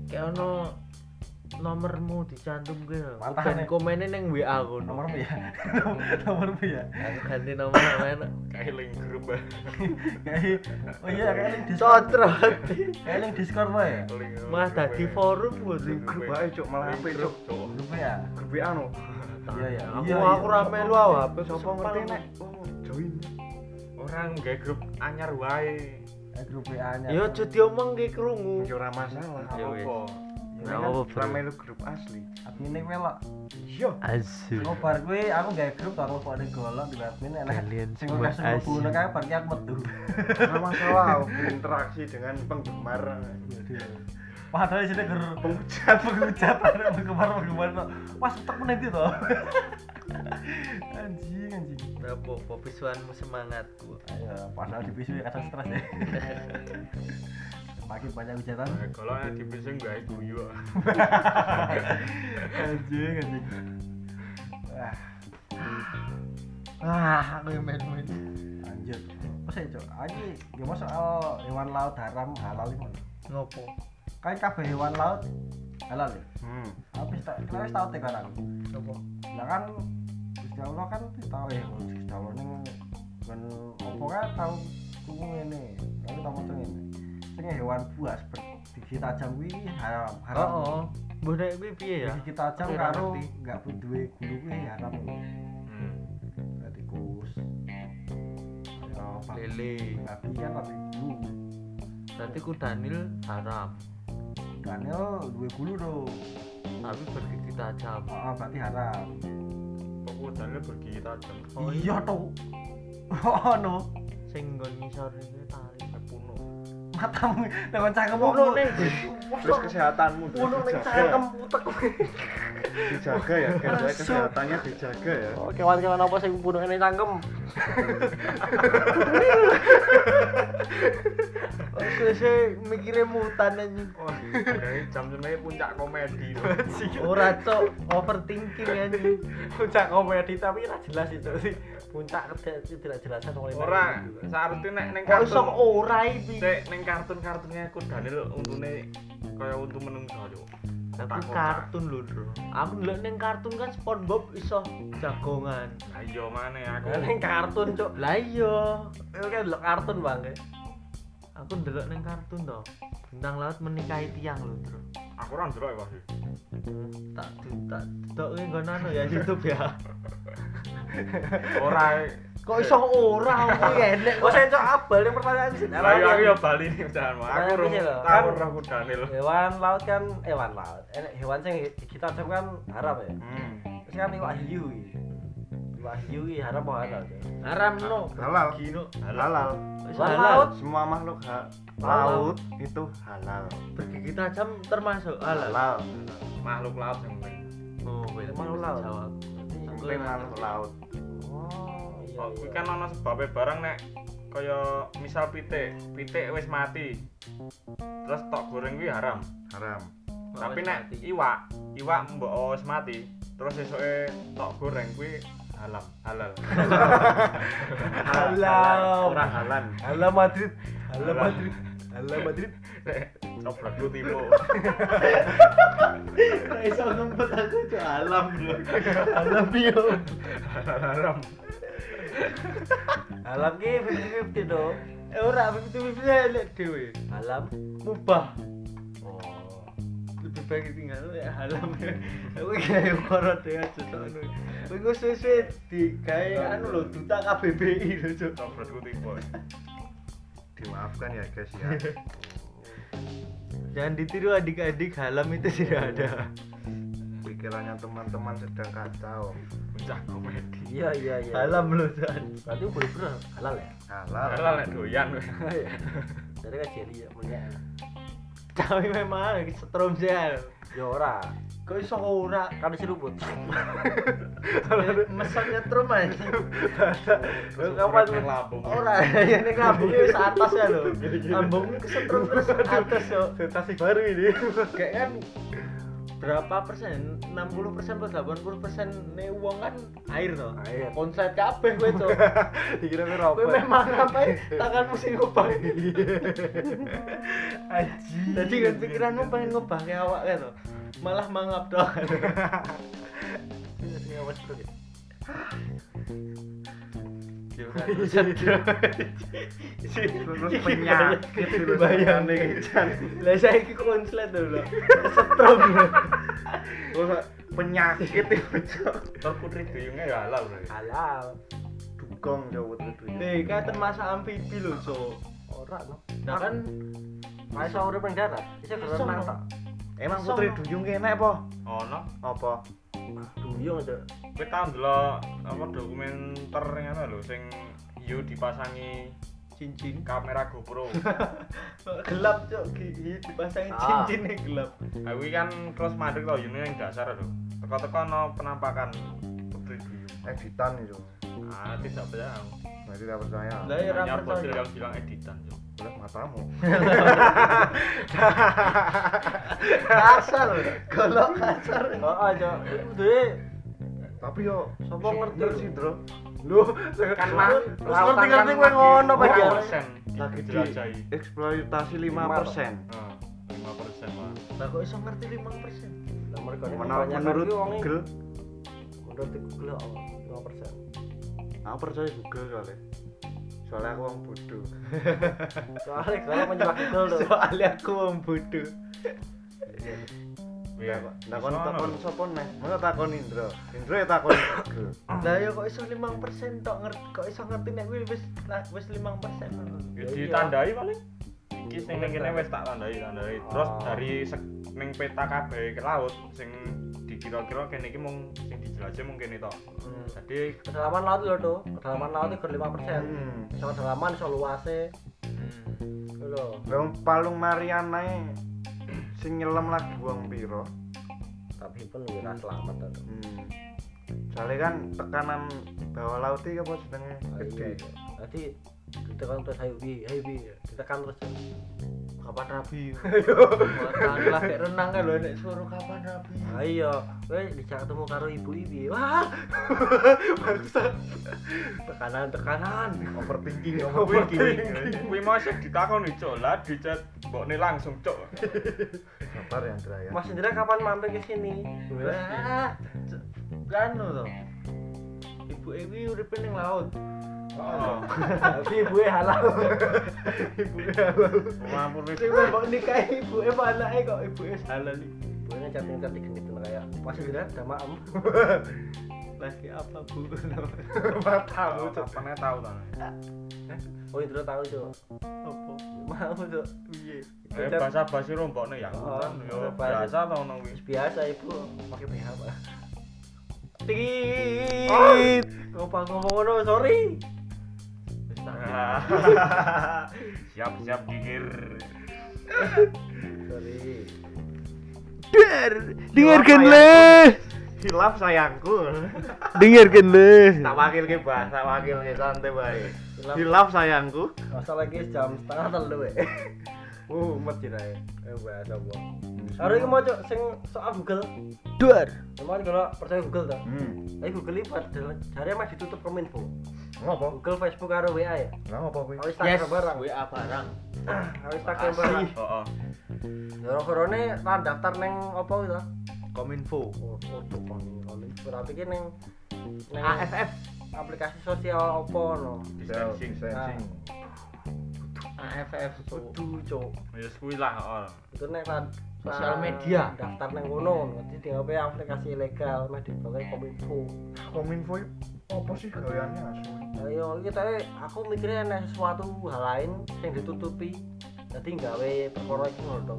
Kayak ono nomormu dicantum gue lho. Mantah, Dan Nek. komennya neng WA kono. Nomor piye? Nomor piye? Aku ganti nomor namanya. Hmm. Kayak link grup. eh. Kayak oh iya kayak link Discord. Cotret. Kayak link Discord wae. eh. Malah dadi forum gue sih. Grup ae cuk malah apa cuk. Lupa ya. Grup WA no. Iya ya. Aku Iya, aku iya. rame lu awak. Sopo ngerti nek oh, join. Orang gak grup anyar wae. Eh, Grup WA-nya. Yo Ya, aja diomong ki krungu. Yo ora masalah. Ya wis. Apa? Nggak apa-apa, Bro. Rame lu grup asli. admin gue lo Yo. Asu. ngobar gue aku gak grup aku kok ada golok di admin enak Kalian sing semua gue kasih asyik. bunuh kan? kayak pergi aku metu Ora masalah aku berinteraksi dengan penggemar. padahal sini ger pengucat pengucat ada penggemar penggemar lo mas tetep menit itu anjing anjing Rapo, popisuanmu semangatku. ayo padahal di pisu ya kadang stres ya makin banyak hujatan Nah, Eh, Kalau yang di PC gak guyu. anjing anjing Wah, Ah, aku yang main-main. lanjut Terus ya cok, lagi gimana soal hewan laut haram halal ini Ngopo? Kayak kabeh hewan laut halal ya? Hmm. habis tak kita wis tau tega kan Ngopo? lah kan Gusti Allah kan wis tau ya kalau Gusti Allah ning kan opo kan tau tuku ngene lalu tak maca ngene sing hewan buas bergigi tajam kuwi haram haram Oh, oh. Mbah nek kuwi piye ya? gigi tajam Aku ora karo ngerti. Hmm. gak bu- duwe gulu kuwi iya, haram berarti kus ya babi Lele. babi kan babi gulu Berarti ku Daniel haram, Daniel oh, duwe gulu dong tapi bergigi tajam. ah berarti haram Pokoknya pergi tajam. Oh, iya tuh oh no Sing nggon ngisor iki tarik. Puno. matamu dengan cangkem Ngono opo? ning. Terus kesehatanmu terus Ngono ning dijaga, cangkem utek kuwi. dijaga ya, guys. Soalnya kesehatannya dijaga ya. Oh, kewan-kewan apa sing bunuh ini cangkem? Sese mikire mutan anjing. Wah, dari jam sebenarnya puncak komedi. Ora cok overthinking anjing. Puncak komedi tapi ora jelas itu sih. Puncak kede- tidak jelasan oleh Ora, seharusnya nek neng Kok iso kartun. ora iki? Cek neng kartun kartunnya aku Daniel untune kaya untu menungso yo. tapi Kotak-kotak. kartun lho bro aku ndelok ning kartun kan SpongeBob iso jagongan Lah iya mana ya aku. Ini kartun, Cuk. lah iya Ini kan delok kartun, Bang. aku ndelok ning kartun to bintang laut menikahi tiang lho bro Aku ora ndelok ya, Pak. tak du- tak tak nggon anu ya YouTube ya Ora. kok iso ora aku ya enek Oh, saya cok abal yang pertanyaan sih. Lah iya, aku ya bali nih jangan. Pak. Aku Nah, rung iya lho. tahu Kan- roh aku Daniel. Hewan laut kan hewan laut. Enak hewan sing kita cok kan harap ya. Hmm. Terus kan iwak hiu. iki. Iwak hiu iki harap ya? apa halal? Cok? haram no Halal. gino halal iso Iwak halal laut. semua makhluk ha- Halal. laut itu halal bergigi tajam termasuk halal halal Makhluk laut yang penting. oh wait Makhluk laut. jawab sampai makhluk laut Oh, iya. Oh, kuwi iya. kan ana sebabe barang nek kaya misal pitik, pitik wis mati. Terus tok goreng kuwi haram. haram Tapi nek iwak, iwak mbok wis mati, terus esoke tok goreng kuwi halal, halal. Halal. ora halal Halo Madrid. Halo Halal. Madrid. Halo Madrid. Coblok lu tipu. ora iso ngumpet aku cok alam lho alam iya. yo Halal, Haram. Alam ki 50-50 do. Eh, ora begitu begitu elek dhewe Alam. mubah Oh. lebih baik tinggal ya halam aku kayak korot ya cocok anu aku suwe di kayak anu lho duta KBBI lho cok Coblok lu tipu. dimaafkan ya guys ya jangan ditiru adik-adik halam itu tidak ada Hmm. pikirannya teman-teman sedang kacau Bocah komedi. Iya iya iya. halam lho Cok. Berarti boleh bener halal ya. halal Halal nek doyan kuwi. Dari kan jeli ya punya. tapi memang setrum sel Ya ora. kok iso ora Kan seruput. mesok nyetrum aja Kapan Nek lambung. ora ya ning lambungnya wis atas ya lho lambungnya kesetrum terus atas yo Sensasi baru ini. kayak kan berapa persen 60 persen atau 80 persen nih uang kan air toh Air. konslet kabeh kowe cok Dikira gue kowe memang ngapain tanganmu sih ngubah Aji. Iya. jadi kan pikiranmu pengen ngubah kayak awak kayak toh malah mangap toh Ngawas terus. ya. Ya kan, set, Cok. terus penyakit terus bayang nih lah saya ki konslet dulu setrum lho. Terus penyakit itu Cok. Terus putri duyungnya ya halal berarti. Halal. dugong ya, jauh itu nih kan termasuk amfibi lho cok Ora no. nah kan Mas iso urip ning darat. Iso Iso, berenang no. tok. emang putri duyung kena apa Ono. apa Duyung cok. Kowe tau ndelok apa dokumenter ngono lho sing hiu dipasangi cincin kamera GoPro. gelap cok gigi dipasangin Ah. cincin yang gelap Nah, kuwi kan terus mandek lho yune yang dasar lho. Teko-teko ono penampakan putri duyung. editan itu Ah, tidak percaya. nah tidak percaya lah ya Hanya rapat bocil cok yang bilang editan, Cuk. lihat matamu kasar golok kasar Heeh cok. Duwe tapi yo Sopo ngerti? sih bro lu Kan mah terus kan ngerti-ngerti gue ngono, Pak Iya. Jar. lagi di dijelajahi. eksploitasi 5% Nah, 5% mah. lah kok iso ngerti 5 persen nomor kene menurut Iya. kebanyakan menurut ki wonge- Google menurut Google apa? 5%. aku percaya Google soalnya soalnya aku orang bodoh Soalnya kalau menyebab Google tuh. soalnya aku mau bodoh Iya, takon takon sopon nih mana takon Indro Indro ya takon Google lah ya kok iso 5 persen tok ngerti kok iso ngerti nek kuwi wis lah, wis 5 persen Ya Ya, iya. ditandai paling. Iki sing ning kene wis tak tandai, tandai. Terus Ah. dari sek- ning peta kabeh ke laut sing dikira-kira kene iki mung sing dijelajah mung kene tok. Jadi Kedalaman laut lho tuh. Kedalaman laut itu lima persen. hmm Iso kedalaman, iso luase. Hmm. Itu lho. Wong palung Mariana e sing nyelam lagi wong piro Tapi pun wira selamat tuh. hmm. soalnya kan tekanan bawah laut iki apa jenenge Ah, gede iya, iya. Jadi ditekan terus ayo bi, ayo bi, ditekan terus. kapan rabi lah kayak renang kan lho nek iya. suara kapan rabi ayo weh dijak ketemu karo ibu ibu wah bangsa tekanan tekanan overthinking Kuwi mau sih ditakoni cok, lah dicat mbokne langsung cok. sabar yang terakhir mas Indra kapan mampir ke sini wah kan lho ibu Ewi uripe ning laut Heeh. tapi ibu halal Mampu wis. sing mbok nikahi ibuke apa anake kok ibuke halal iki? ibunya chatting chatting gitu lah ya mas Indra udah maem lagi apa bu Tahu cok, pernah tahu ta. oh Indra tahu tuh apa mau tuh piye Eh bahasa basi rombokne ya. Oh, kan, Yo bahasa- biasa to ngono kuwi. biasa ibu pakai BH pak tit ngomong ngomong no sorry Siap-siap gigir. sorry dengarkanlah hilaf sayangku dengarkanlah tak wakil ke bah tak wakil ke santai baik Hilaf. hilaf sayangku masa lagi jam setengah telu ya uh umat jira ya eh bahasa gua hari ini mau cok sing soal Google duar cuma kalau percaya Google tuh hmm tapi Google ini pada hari emang ditutup kominfo ngapa Google Facebook karo WA ya ngapa kuwi kalau Instagram barang WA barang kalau Instagram barang Heeh. ya corona lah daftar neng apa gitu kominfo oh oh tuh kan berarti ini neng neng AFF aplikasi sosial apa no Distancing. Ah. sensing AFF so. Aduh, cok. Wis kuwi Ya, lah oh. heeh. Itu nek lan Sosial lan- media. daftar nang kono, nanti dianggap aplikasi ilegal, mah dibawa kominfo. kominfo iki apa sih gaweannya asu Ayo, iki tapi aku mikirnya ada sesuatu hal lain yang ditutupi. Jadi gawe perkara iki ngono to.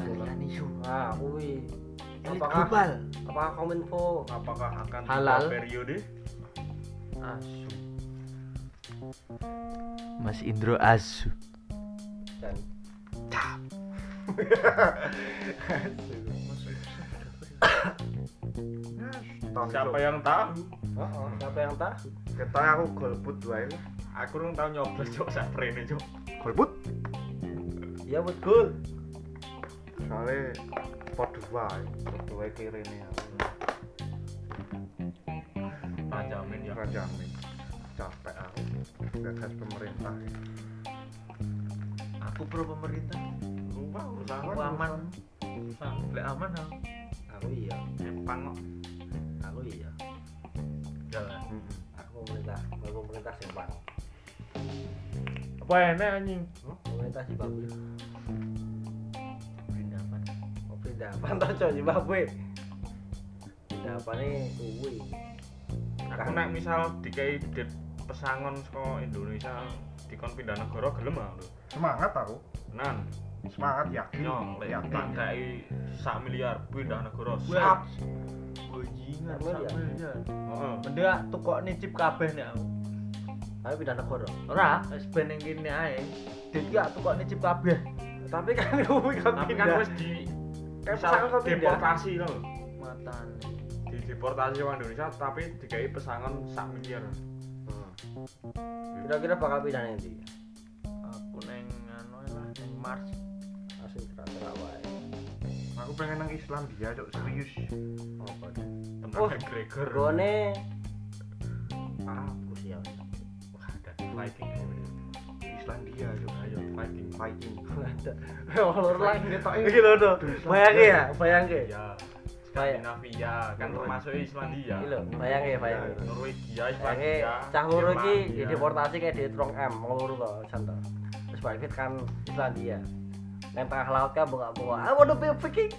kalian isu Nah, kuwi. elit Apakah global apa kominfo? Apakah akan Halal. tiga periode? Ah, asu Mas Indro asu Dan Siapa yang tahu? siapa yang tahu? ketok aku golput wae lah. Aku rung tau nyoblos cok sak prene cok. golput Iya, Ya betul. soalnya eh, podo wae podo wae kirene aku Ya. Tak jamin ya. ora jamin capek aku gagas pemerintah aku pro pemerintah Lupa urusan aku aman lek aman aku Aku iya, Jepang kok. aku iya. jalan Heeh. Aku pemerintah, aku pemerintah Jepang. Apa enak anjing? Pemerintah Zimbabwe. aman Kopi dapan Oh, toh cok Zimbabwe. Dapane kuwi. Aku nek misal dikei dit pesangon saka Indonesia dikon pindah negara gelem ah lho. semangat aku Nan, semangat yakin nyong lek yakin tak kei sak miliar pindah negara. Wah. Oh, iya, Sap. bojingan Aman ya? sampeyan Heeh. Benda tukokne chip kabeh nek aku. Tapi pindah negara. Ora, wis ben ning kene ae. Dadi aku tukokne chip kabeh. Tapi kan kuwi kan Tapi kan pindah. wis di Kan misal pesangon kok pindah. deportasi lho. Matane. Di deportasi ke Indonesia tapi dikei pesangon sak miliar. Kira-kira bakal pindah nanti. Aku neng anu ae lah neng Mars. Asli terasa wae. aku pengen nang Islandia cok serius Apa? Tempat Oh. McGregor. Gone aku sih ya. Wah, ada di Viking. Islandia cok Ayo Viking. Viking Ada. Lur lagi ngetoki iki lho to. Gitu. Bayangke ya, bayangke. Ya. Skandinavia kan termasuk Islandia. Iki lho, bayangke, ya, bayangke. Norwegia, Bayangke Islandia. Iya. Eh, cah loro iki Jerman, ya. dideportasi kayak di Trong M, wong loro to, santai. Terus balik kan Islandia. Nang tengah laut kan buka-buka. Ah, waduh, pikir.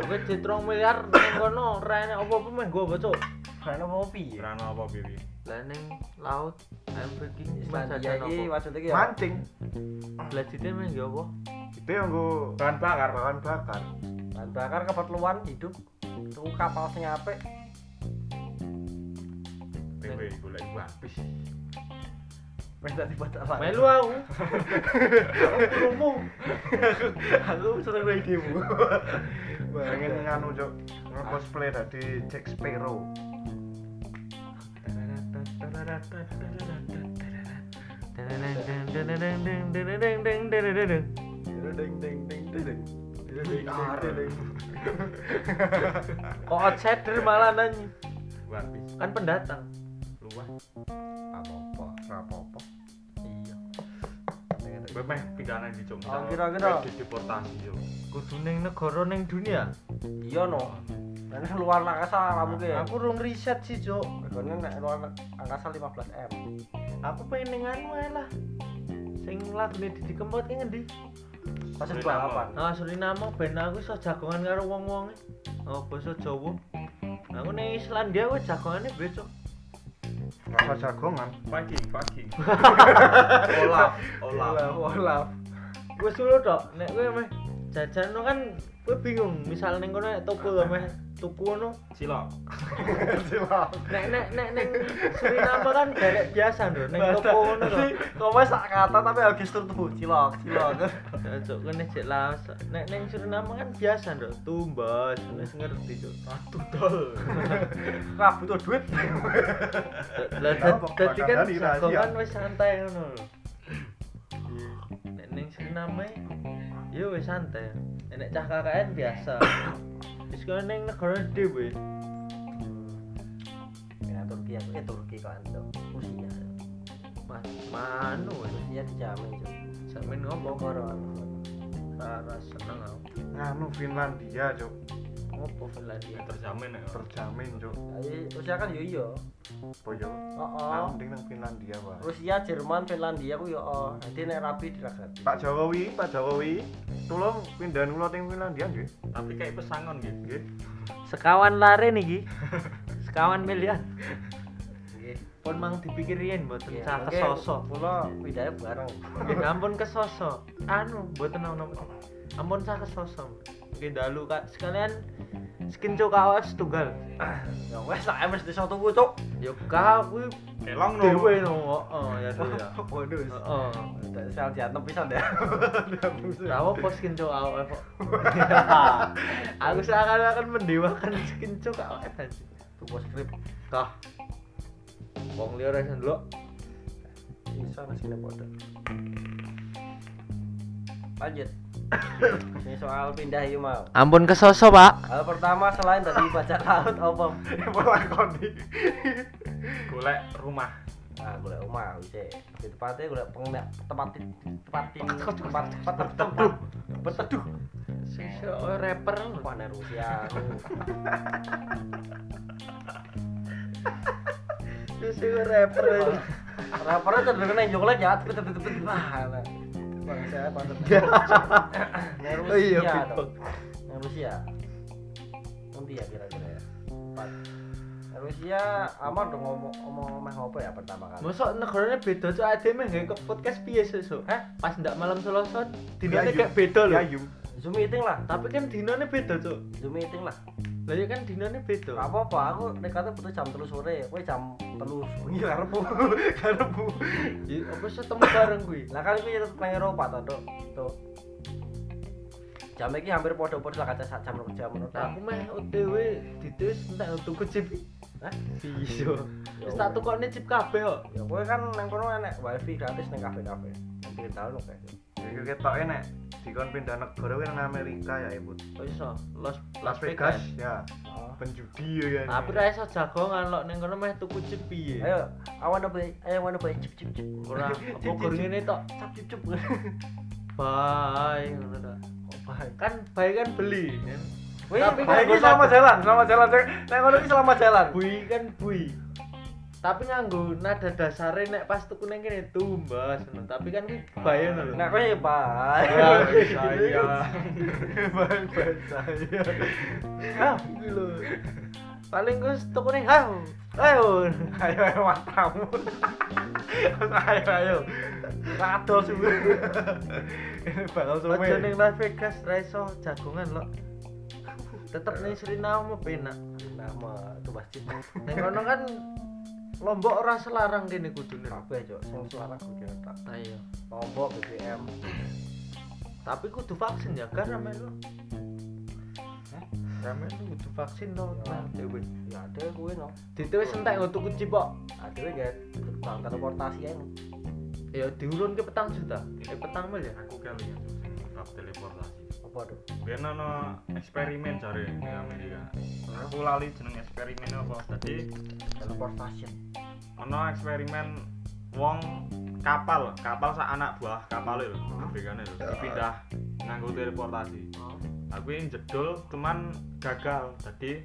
Aku citrong miliar neng kono ora enek apa-apa meh gua bocok. Karena mau piye? Rano apa Bibi? Lah neng laut I'm breaking Islandia iki maksudnya Iya. iki ya. mancing Blajite meh ya apa? itu yang gue Bahan bakar. bahan bakar Bahan bakar keperluan hidup. Tuku kapal sing apik. Bibi golek One Piece. Wis dadi batak lah. Melu aku. Aku seneng wae demo. pengen nganu cok cosplay dari Jack Sparrow Tararata, tararata, tararata, tararata, tararata, Kok outsider malah nanyi? Luar biasa. Kan pendatang. Luar. apa-apa apa-apa Iya. Memang pidana di Jogja. Oh, kira-kira. Di deportasi yo. Kudu ning negara ning dunia. iya no ini luar angkasa kamu ke Aku rung riset sih, Cok. ini nek luar angkasa 15 m Aku pengen ning anu ae lah. Sing lagune Didi Kempot ki ngendi? masih Suriname. balapan Ah, Suriname ben aku iso jagongan karo wong-wonge. Oh, basa Jawa. Aku ning Islandia wis jagongane becok. Rasa jagongan. Pagi, pagi. olaf Olah. olaf Wes dulu tok, nek kowe meh jajan no kan kowe bingung, misal ning kono nek toko to meh tuku ono. Silok. Nek nek nek ning Suriname kan derek biasa lho, ning toko ngono to. Kamu sak kata tapi lagi gestur tuh cilok cilok Ya, Cuk, kene cek lawas. Nek ning Suriname kan biasa lho, tumbas, wis ngerti cuk. Ratu dol. nah butuh duit Lah Kenapa? dadi kan Makadani rahasia. jagongan wis santai ngono lho. Nek ning Suriname ya wis santai. Nek cah KKN biasa. Wis kowe ning negara dhewe. ya Turki aku eh Turki kan tuh Rusia Mas, manu wis. Rusia dijamin cuy Sampeyan ngopo kok Bogor rara seneng aku. Nganu Finlandia, Cuk. Ngopo Finlandia? Terjamin ya. Terjamin, Cuk. Jadi Rusia kan yo yo Boyo. oh oh Aku mending nang Finlandia, Pak. Rusia Jerman Finlandia ku yo oh jadi nek rapi diragati Pak Jokowi, Pak Jokowi, tolong pindahan kula teng Finlandia nggih. Tapi kayak pesangon gitu. Nggih. Sekawan lare niki. Sekawan miliar. Nggih. Pun mang dipikirin mboten Iya, cah mungkin kesoso. Kula pindahnya bareng. Nggih ampun kesoso. Anu mboten ono. Ampun cah kesoso. Nggih dalu Kak sekalian skin cok kaos tunggal. Ya wes lah MS di satu cuk. Yo kak kuwi Kelong no. dhewe no. Heeh ya tuh ya. Waduh. Heeh. Tak sel diantem pisan deh. Ra apa skin cok kaos kok. Aku seakan-akan mendewakan skin cok kaos aja. Tuku skrip. Kah. Wong liya ora iso ndelok. Bisa sini padha. Lanjut. Ini soal pindah yuk mau. Ampun kesoso, Pak. Hal pertama selain tadi baca laut apa? Golek rumah. Nah, golek omah wis. Di tempatnya golek pengen tempat tempat tempat tempat tempat berteduh. Berteduh. Sing oh, rapper. Wah, nek Rusia. Sing rapper. Rappernya cenderung neng jonglet ya, tapi tapi tapi nah. nah. Bang saya pantas. Nah, Oh iya, Rusia beatbox. dong. Nah, Rusia. Nanti ya kira-kira ya. Empat. Nah, Rusia aman dong ngomong ngomong ngomong apa ya pertama kali. Mosok negaranya beda cok ade meh gawe ke podcast piye sesuk? Eh, pas ndak malam Selasa dinane Iya, gak beda lho. Yayu. Zoom meeting lah, Tapi kan dinane beda cok. Zoom meeting lah. Lah ya kan dinane Gak beda. apa-apa, aku nekatnya butuh jam terus sore, kowe jam terus bengi karepmu. Karepmu. Ya apa sih temu bareng kuwi? Lah kan kowe tetep nang Eropa to, Dok. Tuh. Jam iki hampir podo-podo lah kaca sak jam rong jam menurut Nah, aku. aku meh OTW ditus entek tuku chip. Hah? Iya. Ya Wis weh. tak tukokne chip kabeh kok. ya gue kan nang kono enek wifi gratis nang kafe kafe nanti kita tahu kayak gitu. Iki ketoke nek dikon pindah negara kuwi nang Amerika ya, Ibu. Oh iso, Las Ah, Las Vegas ya. Penjudi ya kan. Tapi ra iso jagongan lho ning kono meh tuku chip piye? ayo I wanna buy I wanna buy cip cip cip Ora apa guru ngene tok. cap cip cip Bye ngono tok. Kan bye kan beli kan. Wih, Tapi tapi kan kan gua selama tak- jalan, selama jalan cek. Nek ngono ki selama jalan. Bui kan bui. Tapi nganggo nada dasare nek pas tuku ning kene tumbas ngono. Tapi kan ki bye ngono lho. Nek kowe ya bye. Iya. iya, Saya. Hah, iki lho. Paling gue tuku ning hah. Ayo. Ayo ayo matamu. ayo ayo. Rado suwe. Bakal suwe. Aja ning Las Vegas ra iso jagongan lho. Tetep ning Suriname penak. Nah, mah itu masjid. Ning kono kan Lombok ora selarang kene kudune. Nah, iya. Kabeh, Cok. Sing suara gue kira tak. Ayo. Lombok BBM. Tapi kudu vaksin ya kan ramen lu. Ramen lu kudu vaksin to. Ya. Ya ada kuwi no. Dite wis entek nggo tuku cipok. Akhirnya gak bang transportasi ya. ya diurun ke petang juta eh petang mil ya aku kali ya bab teleportasi apa tuh ben ana eksperimen jare di Amerika aku lali jeneng eksperimen apa tadi teleportation ana eksperimen wong kapal kapal sak anak buah kapal lho dibekane lho dipindah nganggo teleportasi aku yang jedul cuman gagal jadi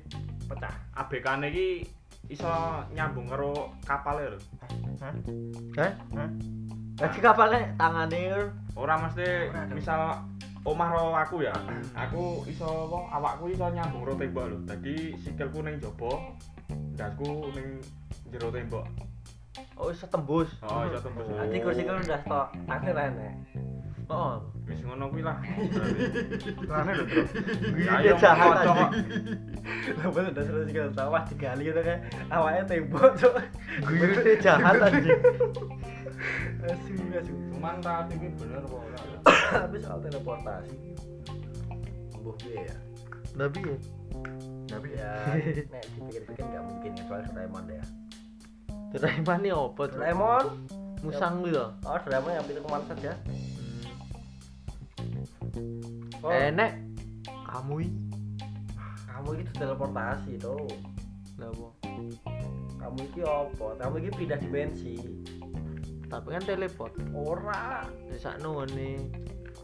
pecah ABK ne iki iso nyambung karo kapal lho Hah? Lagi kapalnya tangannya ora mesti misal omah ro aku ya aku iso apa awakku iso nyambung ro tembok lho dadi sikilku ning jaba ndasku ning jero tembok oh iso tembus oh iso tembus nanti kursi kan udah stok akhir ya oh wis ngono kuwi lah Terane lho, Bro. ayo jahat kocok aja. Lah bener dasar sing kan sawah digali ngono kae. Awake tembok, Cuk. Gue jahat anjing Asu, asu. cuman ra iki bener apa ora tapi soal teleportasi mbuh piye ya tapi ya tapi ya nek dipikir-pikir nggak mungkin kecuali Doraemon deh ya Doraemon ini apa Cuk? Doraemon musang lu ya oh Doraemon yang pintu kemana saja oh enek kamu ini kamu itu teleportasi tuh apa kamu iki apa kamu iki pindah dimensi tapi kan Ya, teleport ora sak none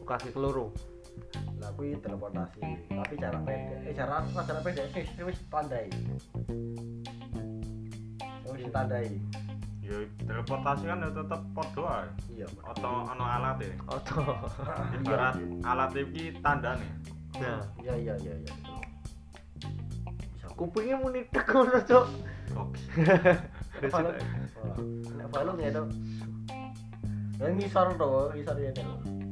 kaki keloro lah aku iki teleportasi tapi jarak pendek eh jarak apa jarak pendek sih sih, wis tandai Eh, wis tandai ya teleportasi kan ya tetep padha ae iya atau ana alat ya oto ibarat alat e iki tandane nah iya iya iya iya kupingnya muni tek ngono cok box apa lu apa lu nggak dong ya ngisor tuh ngisor ya tuh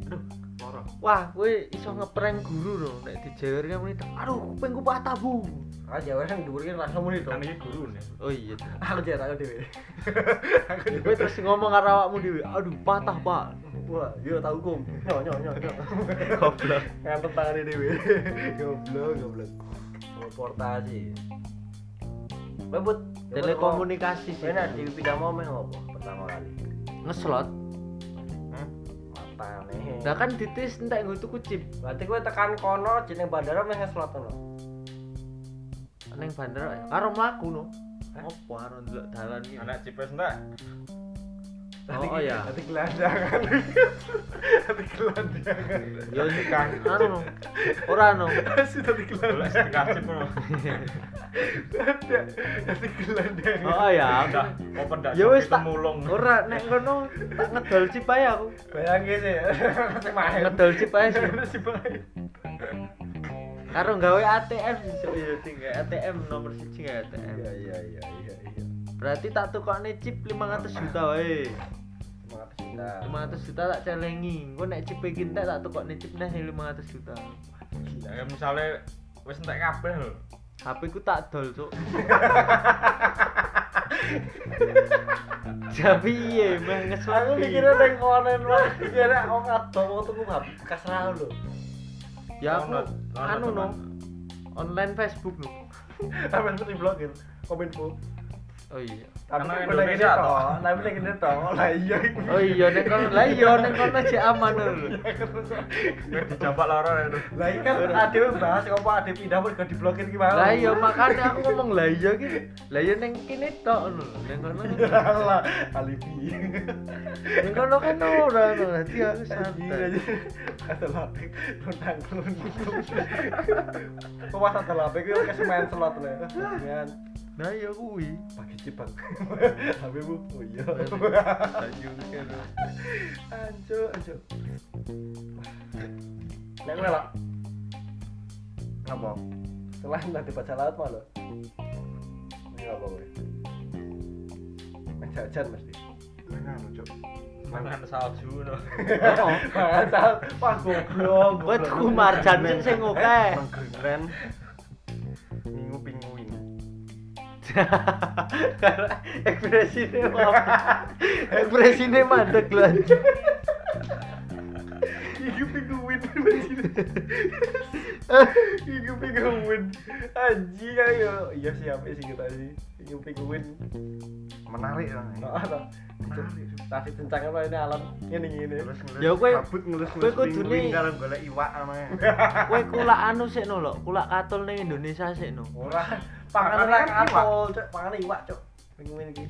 aduh loro wah gue iso ngeprank guru loh nek dijewer kan muni tek aduh kupingku patah bu ah jawa kan diberi langsung muni tuh kan iki guru nih oh iya aku jarak aku dewe gue terus ngomong karo awakmu dhewe aduh patah pak wah iya tahu kum nyok nyok nyok nyok goblok ngantuk tangan ini weh goblok goblok teleportasi lembut telekomunikasi sih ini di pindah mau meh apa pertama kali ngeslot Hmm? mata nih nah kan ditis entek nggo tuku chip berarti gue tekan kono jeneng bandara meh ngeslot kono neng bandara ya karo mlaku no opo karo ndelok dalan iki anak cipes ndak oh iya Nanti gelandangan. Nanti gelandangan. yo kan anu no ora no Asu nanti boleh gelandangan. dikasih bro Nanti gelandangan. oh ya Ndak, open ndak ya wis tak mulung ora nek ngono tak ngedol chip ae aku Bayangin sih. Sing main. ngedol chip ae sih Si main. karo gawe ATM iso yo tinggal ATM nomor siji nggak ATM Iya iya iya iya iya. berarti tak tukokne chip 500 juta wae semangat kita 500 juta tak celengi gue nek chip iki entek tak tukokne chip neh 500 juta ya misalnya wis entek kabeh lho HP ku tak dol cuk Tapi iya mah ngeslot aku mikirnya neng online lah kira aku ngadol waktu gue nggak kasrah lo ya aku Download, download anu no teman. online Facebook no Tapi mesti diblokir. Kominfo. oh iya Tapi Emang kan gue lagi Indonesia ini toh? toh. Tapi lagi ini toh. Lah iya. itu. oh iya neng kono lah iya neng kono aja aman no iya. Wis dijambak loro ya lho Lah iya kan ade bahas apa ade pindah pun gak diblokir gimana? lah iya makanya aku ngomong lah iya gitu lah iya neng kini tok no neng kono Lah alibi. neng kono kan ora no nanti aku Anjing santai aja. Ada lapik nonang Kok pas ada lapik itu kayak semen slot lah. Kan nah iya kuwi pakai cipang. Tapi bu, oh iya. Anjo, anjo. neng gue lah Apa? selain nanti baca laut malah Ini apa gue? Main jajan mesti. Main anu, Cuk. makan salju lho oh Main sal- Wah, goblok. Kowe tuku marjan sing sing akeh. Keren. Minggu pinguin. Karena ekspresinya apa? Ekspresinya mandek lu anjing. Minggu pinguin. Minggu pinguin. Anjing ayo. Iya sih apa sih kita sih. Minggu pinguin. Menarik lah Nah, Tadi kencang apa ini alam ini ini. Ngelus ngelus. Ya, kowe- kabut ngelus kowe ngelus. kudu ping-ping nih. kalau golek iwak namanya. Kowe kulak anu sik no lho, kulak katul ning Indonesia sik no. Ora. Panganan Panganan ora kan iwak. kapal, cuk. Panganan iwak, cuk. Pengen iki.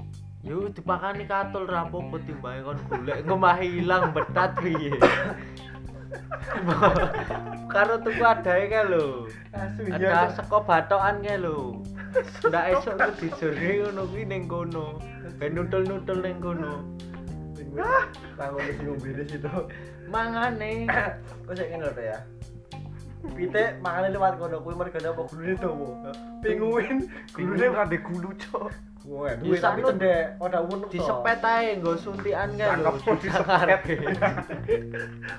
Yo dipakani katul ra apa-apa timbange kon golek ngomah ilang betat piye. Karo tuku adae kae lho. Asu iya, Ada seko batokan kae lho. Ndak esuk ku dijurne ngono kuwi ning kono. Ben nutul-nutul ning kono. Ah! Tangan wis ngombe di situ. Mangane. Kok sik ngene lho ya. Pitik mangane lewat kono kuwi mergane apa gulune tuwa. Pinguin Gulune ora ndek gulu, Cok. Wah, duwe tapi Anu, cendek, ora wonu disepet ae nggo suntikan kae lho. Cakep, disepet.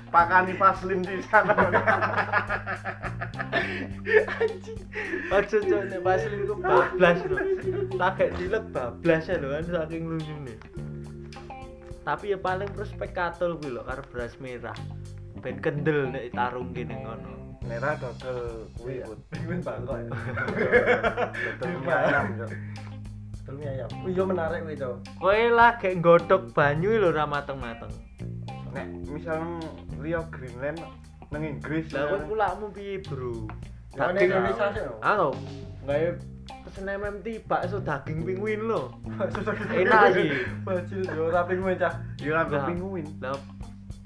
Pakani paslim di sana. Aja cok nek pas linku bablas lho. Lagek dilek bablas ya lho kan saking lunyune. Tapi ya paling prospek katul kuwi lho karo beras merah. Ben kendel nek tarungke ning ngono. Nera dodol kuwi, Bud. Pinguin bangkok. ya. Dodol Iya. mie ayam, Cok. Dodol mie ayam. Wih, yo Iya, menarik kuwi, Cuk. Kowe lagek nggodhog banyu lho ra mateng-mateng. Nek misal Rio Greenland nang Inggris. Lah kowe ya. kulakmu piye, Bro? Ya nek Indonesia sih. lho. Aku gawe pesen MMT bakso daging pinguin lho. Enak sih. Bajil yo ora pinguin cah. Yo ambil Nah. pinguin. Lah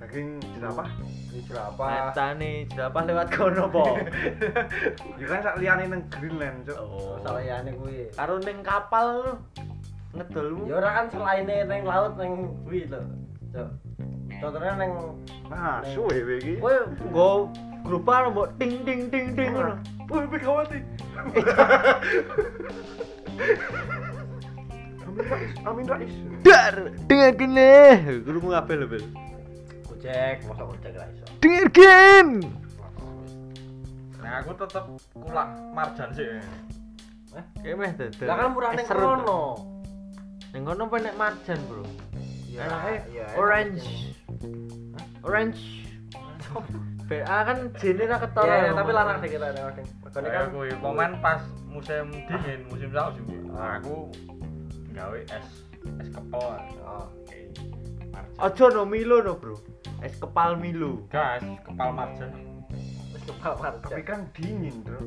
Daging apa? Ini berapa? petane jerapah lewat kono po. Yo kan sak liyane nang Greenland, Cok. Oh. Salayane ya, kuwi. Karo ning kapal lho. Ngedolmu. Ya ora kan selaine ning laut ning kuwi lho. Cuk. Contohnya ning Nah, suwe kowe iki. Kowe nggo grupan mbok ting ting ting ting ngono. Woi, Megawati. Amin Rais, Amin Rais. Dar, dengarkan deh. Guru mau ngapel lebel. Gojek, masa Gojek ra iso. Dengarkan. Nah, aku tetep kulak marjan sih. Kayak meh dadar. Lah kan murah Eh, ning kono. Ning kono apa nek marjan, Bro? Ya, Enake ya, orange. Hah? Orange. BA kan jene ra Ya, ketara. ya, tapi larang dikit ada orang. Mergane kan Kayak aku momen pas musim dingin, musim salju. Aku gawe es es kepel. Oh. Kayak marjan. Aja no Milo no, Bro. Es kepal Milo. Gas, kepal marjan. Wis kepal Tapi marjan. kan dingin, Bro.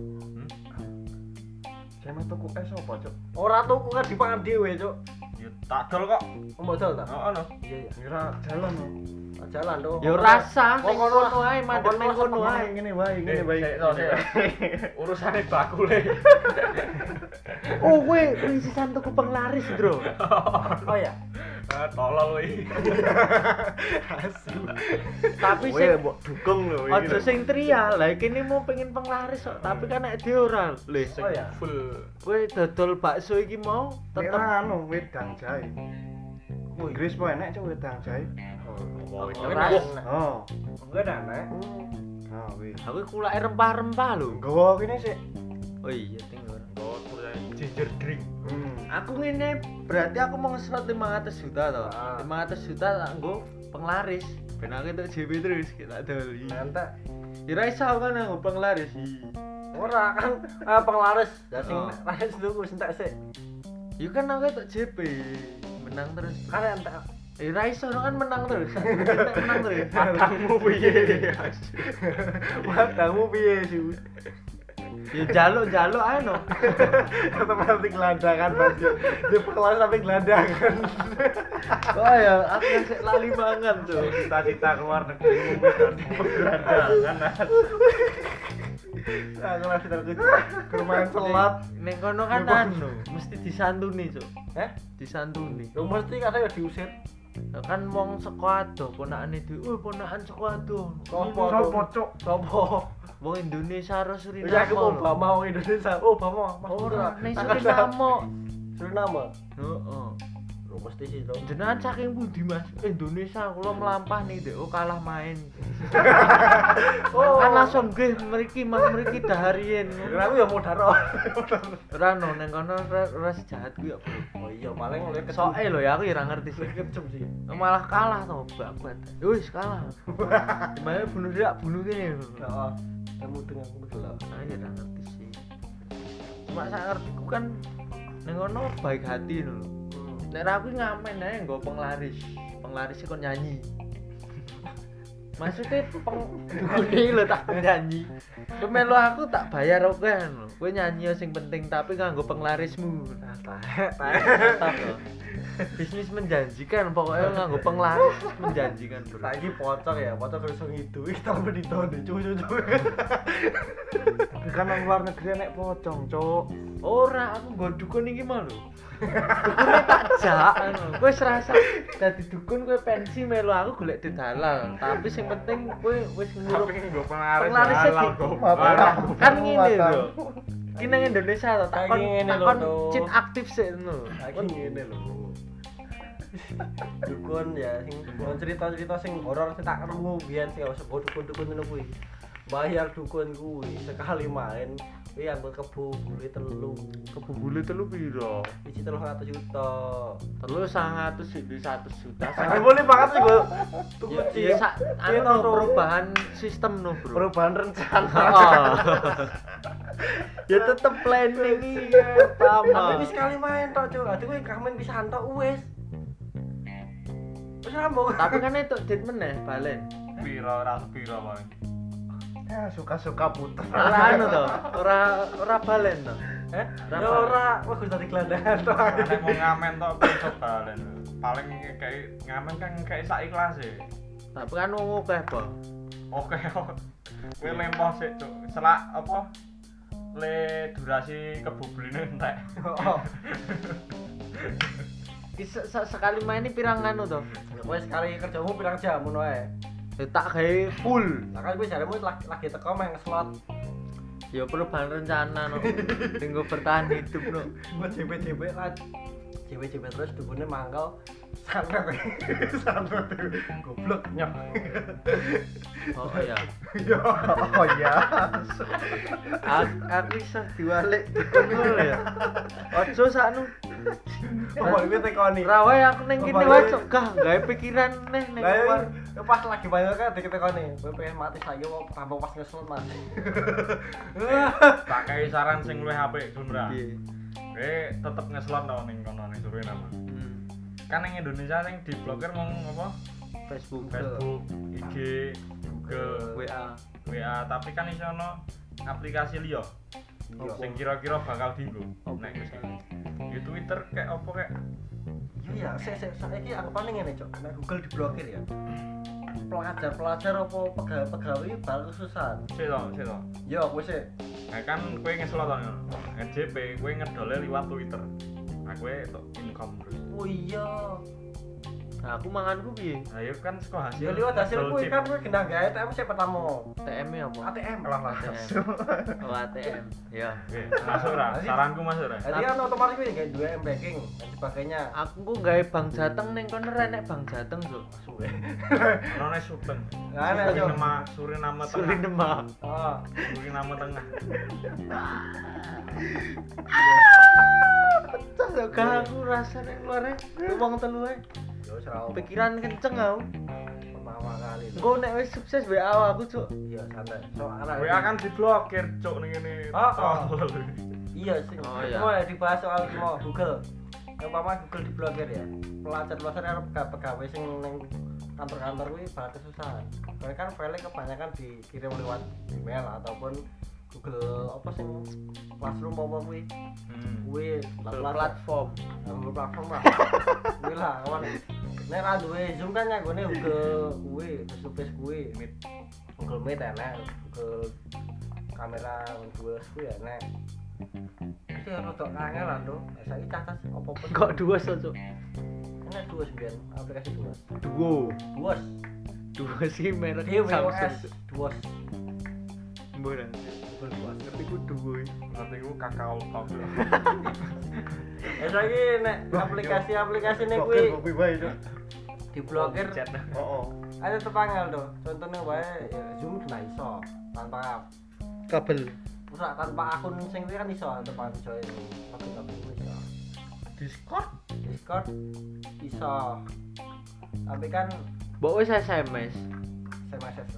Saya mau tuku es apa, Cok? Ora tuku kan dipangan dhewe, Cuk. Ya tak dol kok. Mbok dol ta? Heeh no. Iya, iya. Kira jalan no. Jalan to. Ya rasa, Wong ning kono kono ae mandek ning kono ae. ngene wae, Ini ngene wae. baik. Urusane e. bakule. Oh, kowe prinsisan tuku penglaris, Bro. Oh ya. Ah, Tolol iki. Tapi Kowe sing mbok dukung lho iki. Aja sing trial, lah kene mau pengen penglaris kok, tapi kan nek dhewe ora. Lih, Sing Oh, ya? full. kowe dodol bakso iki mau tetep Tetep anu wedang jahe. Inggris po enek Cok wedang jahe. Wah, wis. Ora. Oh. iya. Enggak ada nek. Nah, wis. Aku kulake rempah-rempah lho. Nggawa kene sik. Oh iya tinggal. Nggo tulisan Oh, ginger drink. Hmm. Aku ngene berarti aku mau ngeserot 500 juta to. Ah. 500 juta tak nggo penglaris. Ben aku entuk JB terus kita doli. Nanti Ya ra iso aku kan nggo penglaris. ora kan eh, penglaris. Ya sing Oh. laris tuku sing tak sik. Ya kan aku entuk JB. Menang terus. Kan entek Eh ra iso no kan menang terus. Nek menang terus. Matangmu piye? Matangmu piye sih? Ya jaluk-jaluk ae no. Tetep nanti gelandangan Mas. Ya, Dia penglaris sampai gelandangan. Wah ya, aku yang sik lali banget tuh. Cita-cita keluar negeri gelandangan. Aku lagi terkejut. Kermain telat. Neng kono kan anu, mesti disantuni cuk. Eh? Disantuni. Lu mesti kadang ya diusir. Lah kan wong seko adoh ponakane dhewe, uh ponakan seko adoh. Sopo? Sopo cok? Sopo? Wong Indonesia harus Iya, Ya aku Suriname. lho. Obama wong Indonesia. Oh, Obama. Mas Ora, Obama. ning Suriname. Suriname. Heeh. Lu mesti sih lo. Jenengan saking pundi Mas? Indonesia kula melampah nih Dek, oh kalah main. Oh. Kan langsung nggih mriki Mas mriki daharien. Kira aku ya mau oh. daro. Ora no neng kono ora ora sejahat kuwi ya, Bro. Oh iya, paling oleh kesok. Soe eh. lho ya aku ya ora ngerti sih. Kecem sih. malah kalah sama babat Ya wis kalah gimana bunuh dia bunuh gini Heeh. Kamu dengan aku dulu. aja nggak ngerti sih cuma saya ngerti ku kan nengono baik hati lho Nek ra aku ngamen ae nggo penglaris. Penglaris kon nyanyi. Maksudnya peng dukune lho tak nyanyi. Pemelu aku tak bayar oke lho. Kowe nyanyi sing penting tapi nganggo penglarismu. Nah, tak- tak- tak, lho. Bisnis menjanjikan pokoknya nganggo penglaris menjanjikan bro. Lagi pocong ya, pocong terus itu kita mau ditonde cucu-cucu. kan orang luar negeri nek pocong cok Ora aku nggo dukun iki mah lho. Dukune tak jak ngono. Kowe serasa dadi dukun kowe pensi melu aku golek duit halal. Tapi sing penting kowe wis nguruk tapi gue penglaris Penglaris halal sedikit. kok Ora, Parah. kan ngene lho. Ki nang Indonesia to takon Kayak ngene lho, takon Dok. cit aktif sik ngono. Lagi Kon- ngene lho. Dukun ya sing dukun cerita-cerita sing horor sing tak krungu biyen sing gak usah bawa dukun-dukun ngono kuwi. Bayar dukun kuwi sekali main kuwi angkut kebu bule telu. kebule telu piro Iki 300 juta. Terus 100 sik 100 juta. Aku boleh banget sih gua. Tuku Ya, sih. ya, sak- anu Iya, no, Bro. perubahan sistem no bro. Kan- Oh. Perubahan rencana. ya tetep planning iya pertama Tapi ini sekali main tok, Cuk. Aduh kowe kamen bisa antok wis. Wis rambo. tapi kan itu treatment ya balen piro ras piro paling ya suka-suka puter ora anu to ora ora balen to Eh, Berapa? ya ora, wah gue tadi gelandangan toh. Nek mau ngamen tok piro balen paling kayak ngamen kan kayak sak ikhlas e tapi kan wong akeh po oke kok kowe lempoh sik cuk selak apa le durasi kebubuline entek Oh, Ki se- se- sekali main ini pirang anu to gue Ya, sekali kerjamu bilang jam ngono ae. ya tak gawe full Lah kan gue jaremu lagi, lagi teko main slot. ya perubahan rencana no tinggal bertahan hidup no Gue JB-JB lah. JB-JB kan. terus dukunnya mangkel. Santet. Santet. Goblok nyok. oh iya oh iya aku, aku iso diwalik dukun ngono ya ojo sakno Oh, gue tekoni. rawe aku ning kene wae cok gah gawe pikiran neh ning Lah luar ya, pas lagi banyak kan dikit tekoni. Gue pengen mati saya mau tambah pas ngeslot mati. tak kayak saran sing luwih apik gelem ra Piye? kowe tetep ngeslon tau ning kono ning suruh nama Hmm, kan ning Indonesia ning diblokir mau apa Facebook Facebook IG Google WA WA tapi kan iso ono aplikasi liya sing kira-kira bakal dienggo nek wis ngene. Di Twitter kayak apa kayak Iya, saya saya saya ini aku paling ini cok, nah Google diblokir ya. Pelajar pelajar apa pegawai pegawai bal kesusahan. sik to, sik to. Yo, aku sih. Nah kan kowe ngeslot to ngono. NJP kowe ngedole liwat Twitter. Nah kowe tok income terus. Oh iya. Nah, aku manganku piye? Nah iya kan saka Ya hasil. liwat hasil dodol kuwi chip. kan kuwi genah gawe ATM siapa tamu. ATM ya apa? ATM. ATM. Oh, ATM. Ya. Oke, Masuk ora? Jadi- Saranku masuk ora? Jadi kan otomatis kuwi gawe dua M banking dan sebagainya. Aku ku gawe Bang Jateng ning kono ra nek Bang Jateng, Cuk. Suwe. Ono nek Suteng. Nah, nek yo. Suriname, Suriname Tengah. Suriname. Oh, Suriname Tengah. Pecah lho gak aku rasane keluar e, wong telu ae. yo serau. Pikiran kenceng aku. ya Pertama kali. Engko nek wis sukses WA aku, Cuk. Iya, santai. So, anak. Kowe akan kan diblokir cuk ning ngene. iya. Oh, oh. Tolol. Iya sih. Oh, iya. Semua yang dibahas soal semua Google. Umpama Google diblokir ya. Pelajar-pelajar arep pega- pegawai sing ning kantor-kantor kuwi bakal kesusahan. Karena kan file kebanyakan dikirim lewat email ataupun Google apa sing Classroom apa kuwi. Hmm. Kuwi plat Platform. Google platform lah. Kuwi lah kawan. Nek ra duwe Zoom kan nyanggone Google kuwi, face kuwi. Meet. Google Meet enak, Google kamera Google kuwi enak. Iki rodok kangen lah tuh. Saiki cacas apa-apa Kok dua so, Cuk? enak dua sembilan aplikasi dua. Duo. Dua. Dua sih merek DWOS. Samsung. Dua. Mboran. Google dua. Ngerti ku duo. Nanti ku kakao kok. Eh saiki nek aplikasi-aplikasi nek kuwi Blokir kopi wae cok diblokir oh oh ada terpanggil tuh. Contohnya wae ya, Zoom kena iso tanpa Kabel. Ora tanpa akun sing kuwi kan iso tanpa join login login kuwi iso. Discord. Discord iso. Tapi kan Mbok wis SMS. saya message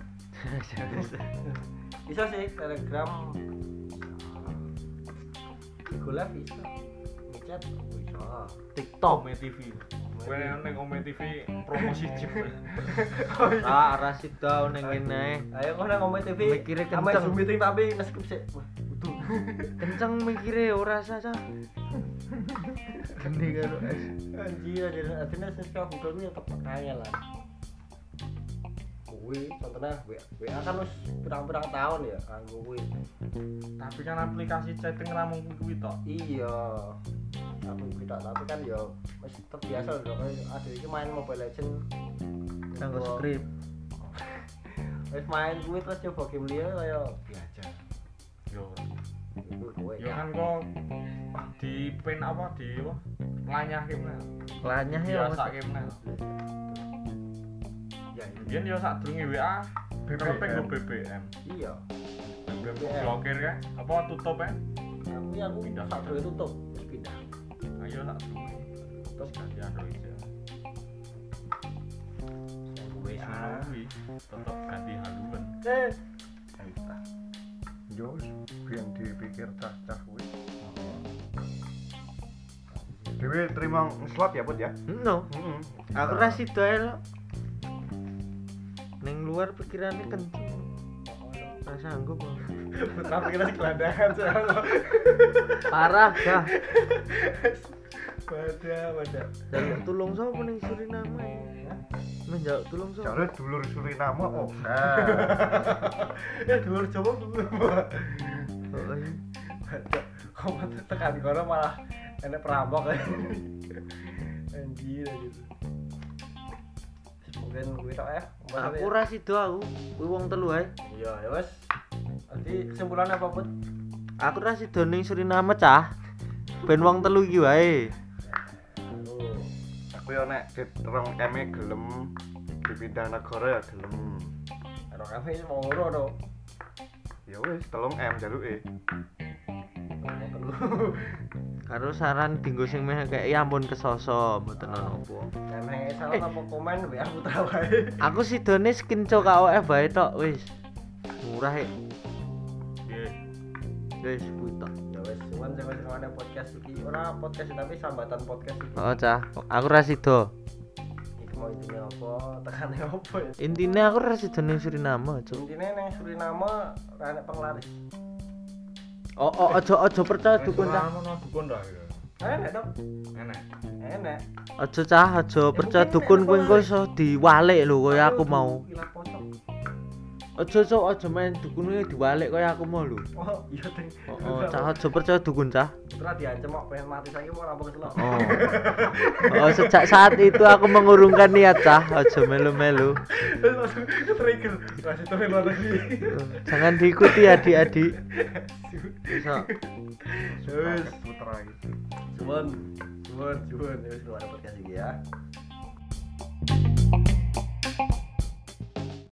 bisa sih telegram Google Live bisa Mix Snapchat oh iso Ome TV. Kowe ning Ome TV promosi chip. Ah, rasik tau neng ngene. ayo kok nang ngomong TV Mikirnya sama kenceng. Zoom meeting tapi neskip sih wah butuh Kenceng mikire ora sasa. Geni karo es. anjir anjir artinya sesuai Google itu ya tepat kaya lah kuwi contohnya W- WA kan wis pirang-pirang tahun ya kanggo kuwi Tapi kan aplikasi chatting ra mung kuwi tok. iya aku tidak tapi kan ya wis terbiasa lho kayak ada iki main Mobile Legend Nanggo Gua- skrip. wis main kuwi terus coba game liya kaya Belajar. Yo. kuwi kowe Yo kan kok di pin apa di apa? Lanyah gimana? Lanyah ya. Biasa gimana? ya iya. Biyen yo sadurunge WA BBM go BBM. iya BBM BBM. blokir kan? Apa tutup ya? aku aku Pindah. sak durung tutup terus pindah Ayo sadurunge. Terus ganti Android ya. wis Semua kuwi tetep ganti haluan. Eh. Eh, Yo, biar dipikir cah-cah kuwi. Dewi terima slot ya, Put ya? No. ya, Heeh. Aku rasik ae lo. Neng luar pikirannya kenceng. Ora sanggup. aku. Tapi kita gelandangan soalnya. Parah dah. Wadah, wadah. Jaluk tulung sapa ning Suriname? Menjaluk tulung sapa? Jare dulur Suriname kok. Eh, dulur Jawa dulur. Oh, iya. Kok mati tekan kono malah enek perampok. Anjir anjir. mungkin kuwi tok ya Aku ora sido aku. Kuwi wong telu ae. iya ya wis nanti kesimpulannya apa pun Aku ora sido ning Suriname cah. Ben wong telu iki wae. Aku yo nek dit rong eme gelem dipindah negara ya gelem. karo kafe mau ngoro to Ya wis, telung M jaluke. Karo saran dinggo sing meh kayak ya ampun kesoso mboten ono apa. Jangan E salah apa komen WA putra wae Aku sidone skinco KOF bae tok wis. Murah e. Nggih. Wis kuwi tok. ya wis cuman cuman cuman ada podcast iki ora podcast tapi sambatan podcast iki Oh cah, aku ora sido. iki mau intine apa tekane apa ya Intine aku ora sido ning Suriname, cuk. intine nang Suriname ra enek penglaris Oh, oh aja aja percaya dukun cah. Ono dukun dah. ya. enek dong Enak. enek Aja cah, aja percaya dukun kuwi engko iso diwalik lho kaya aku mau. ilang pocong Aja cuk, aja main dukun kuwi diwalik kaya aku mau lho. oh iya ding Oh, oh, cah aja percaya dukun cah. putra diancem kok pengen mati saiki mau rampung selok Oh. oh, sejak saat itu aku mengurungkan niat cah, aja melu-melu. Terus langsung trigger. Terus itu luar negeri. Jangan diikuti adik-adik. Bisa. Terus putra gitu. iki. cuman cuman cuman ya wis keluar podcast iki ya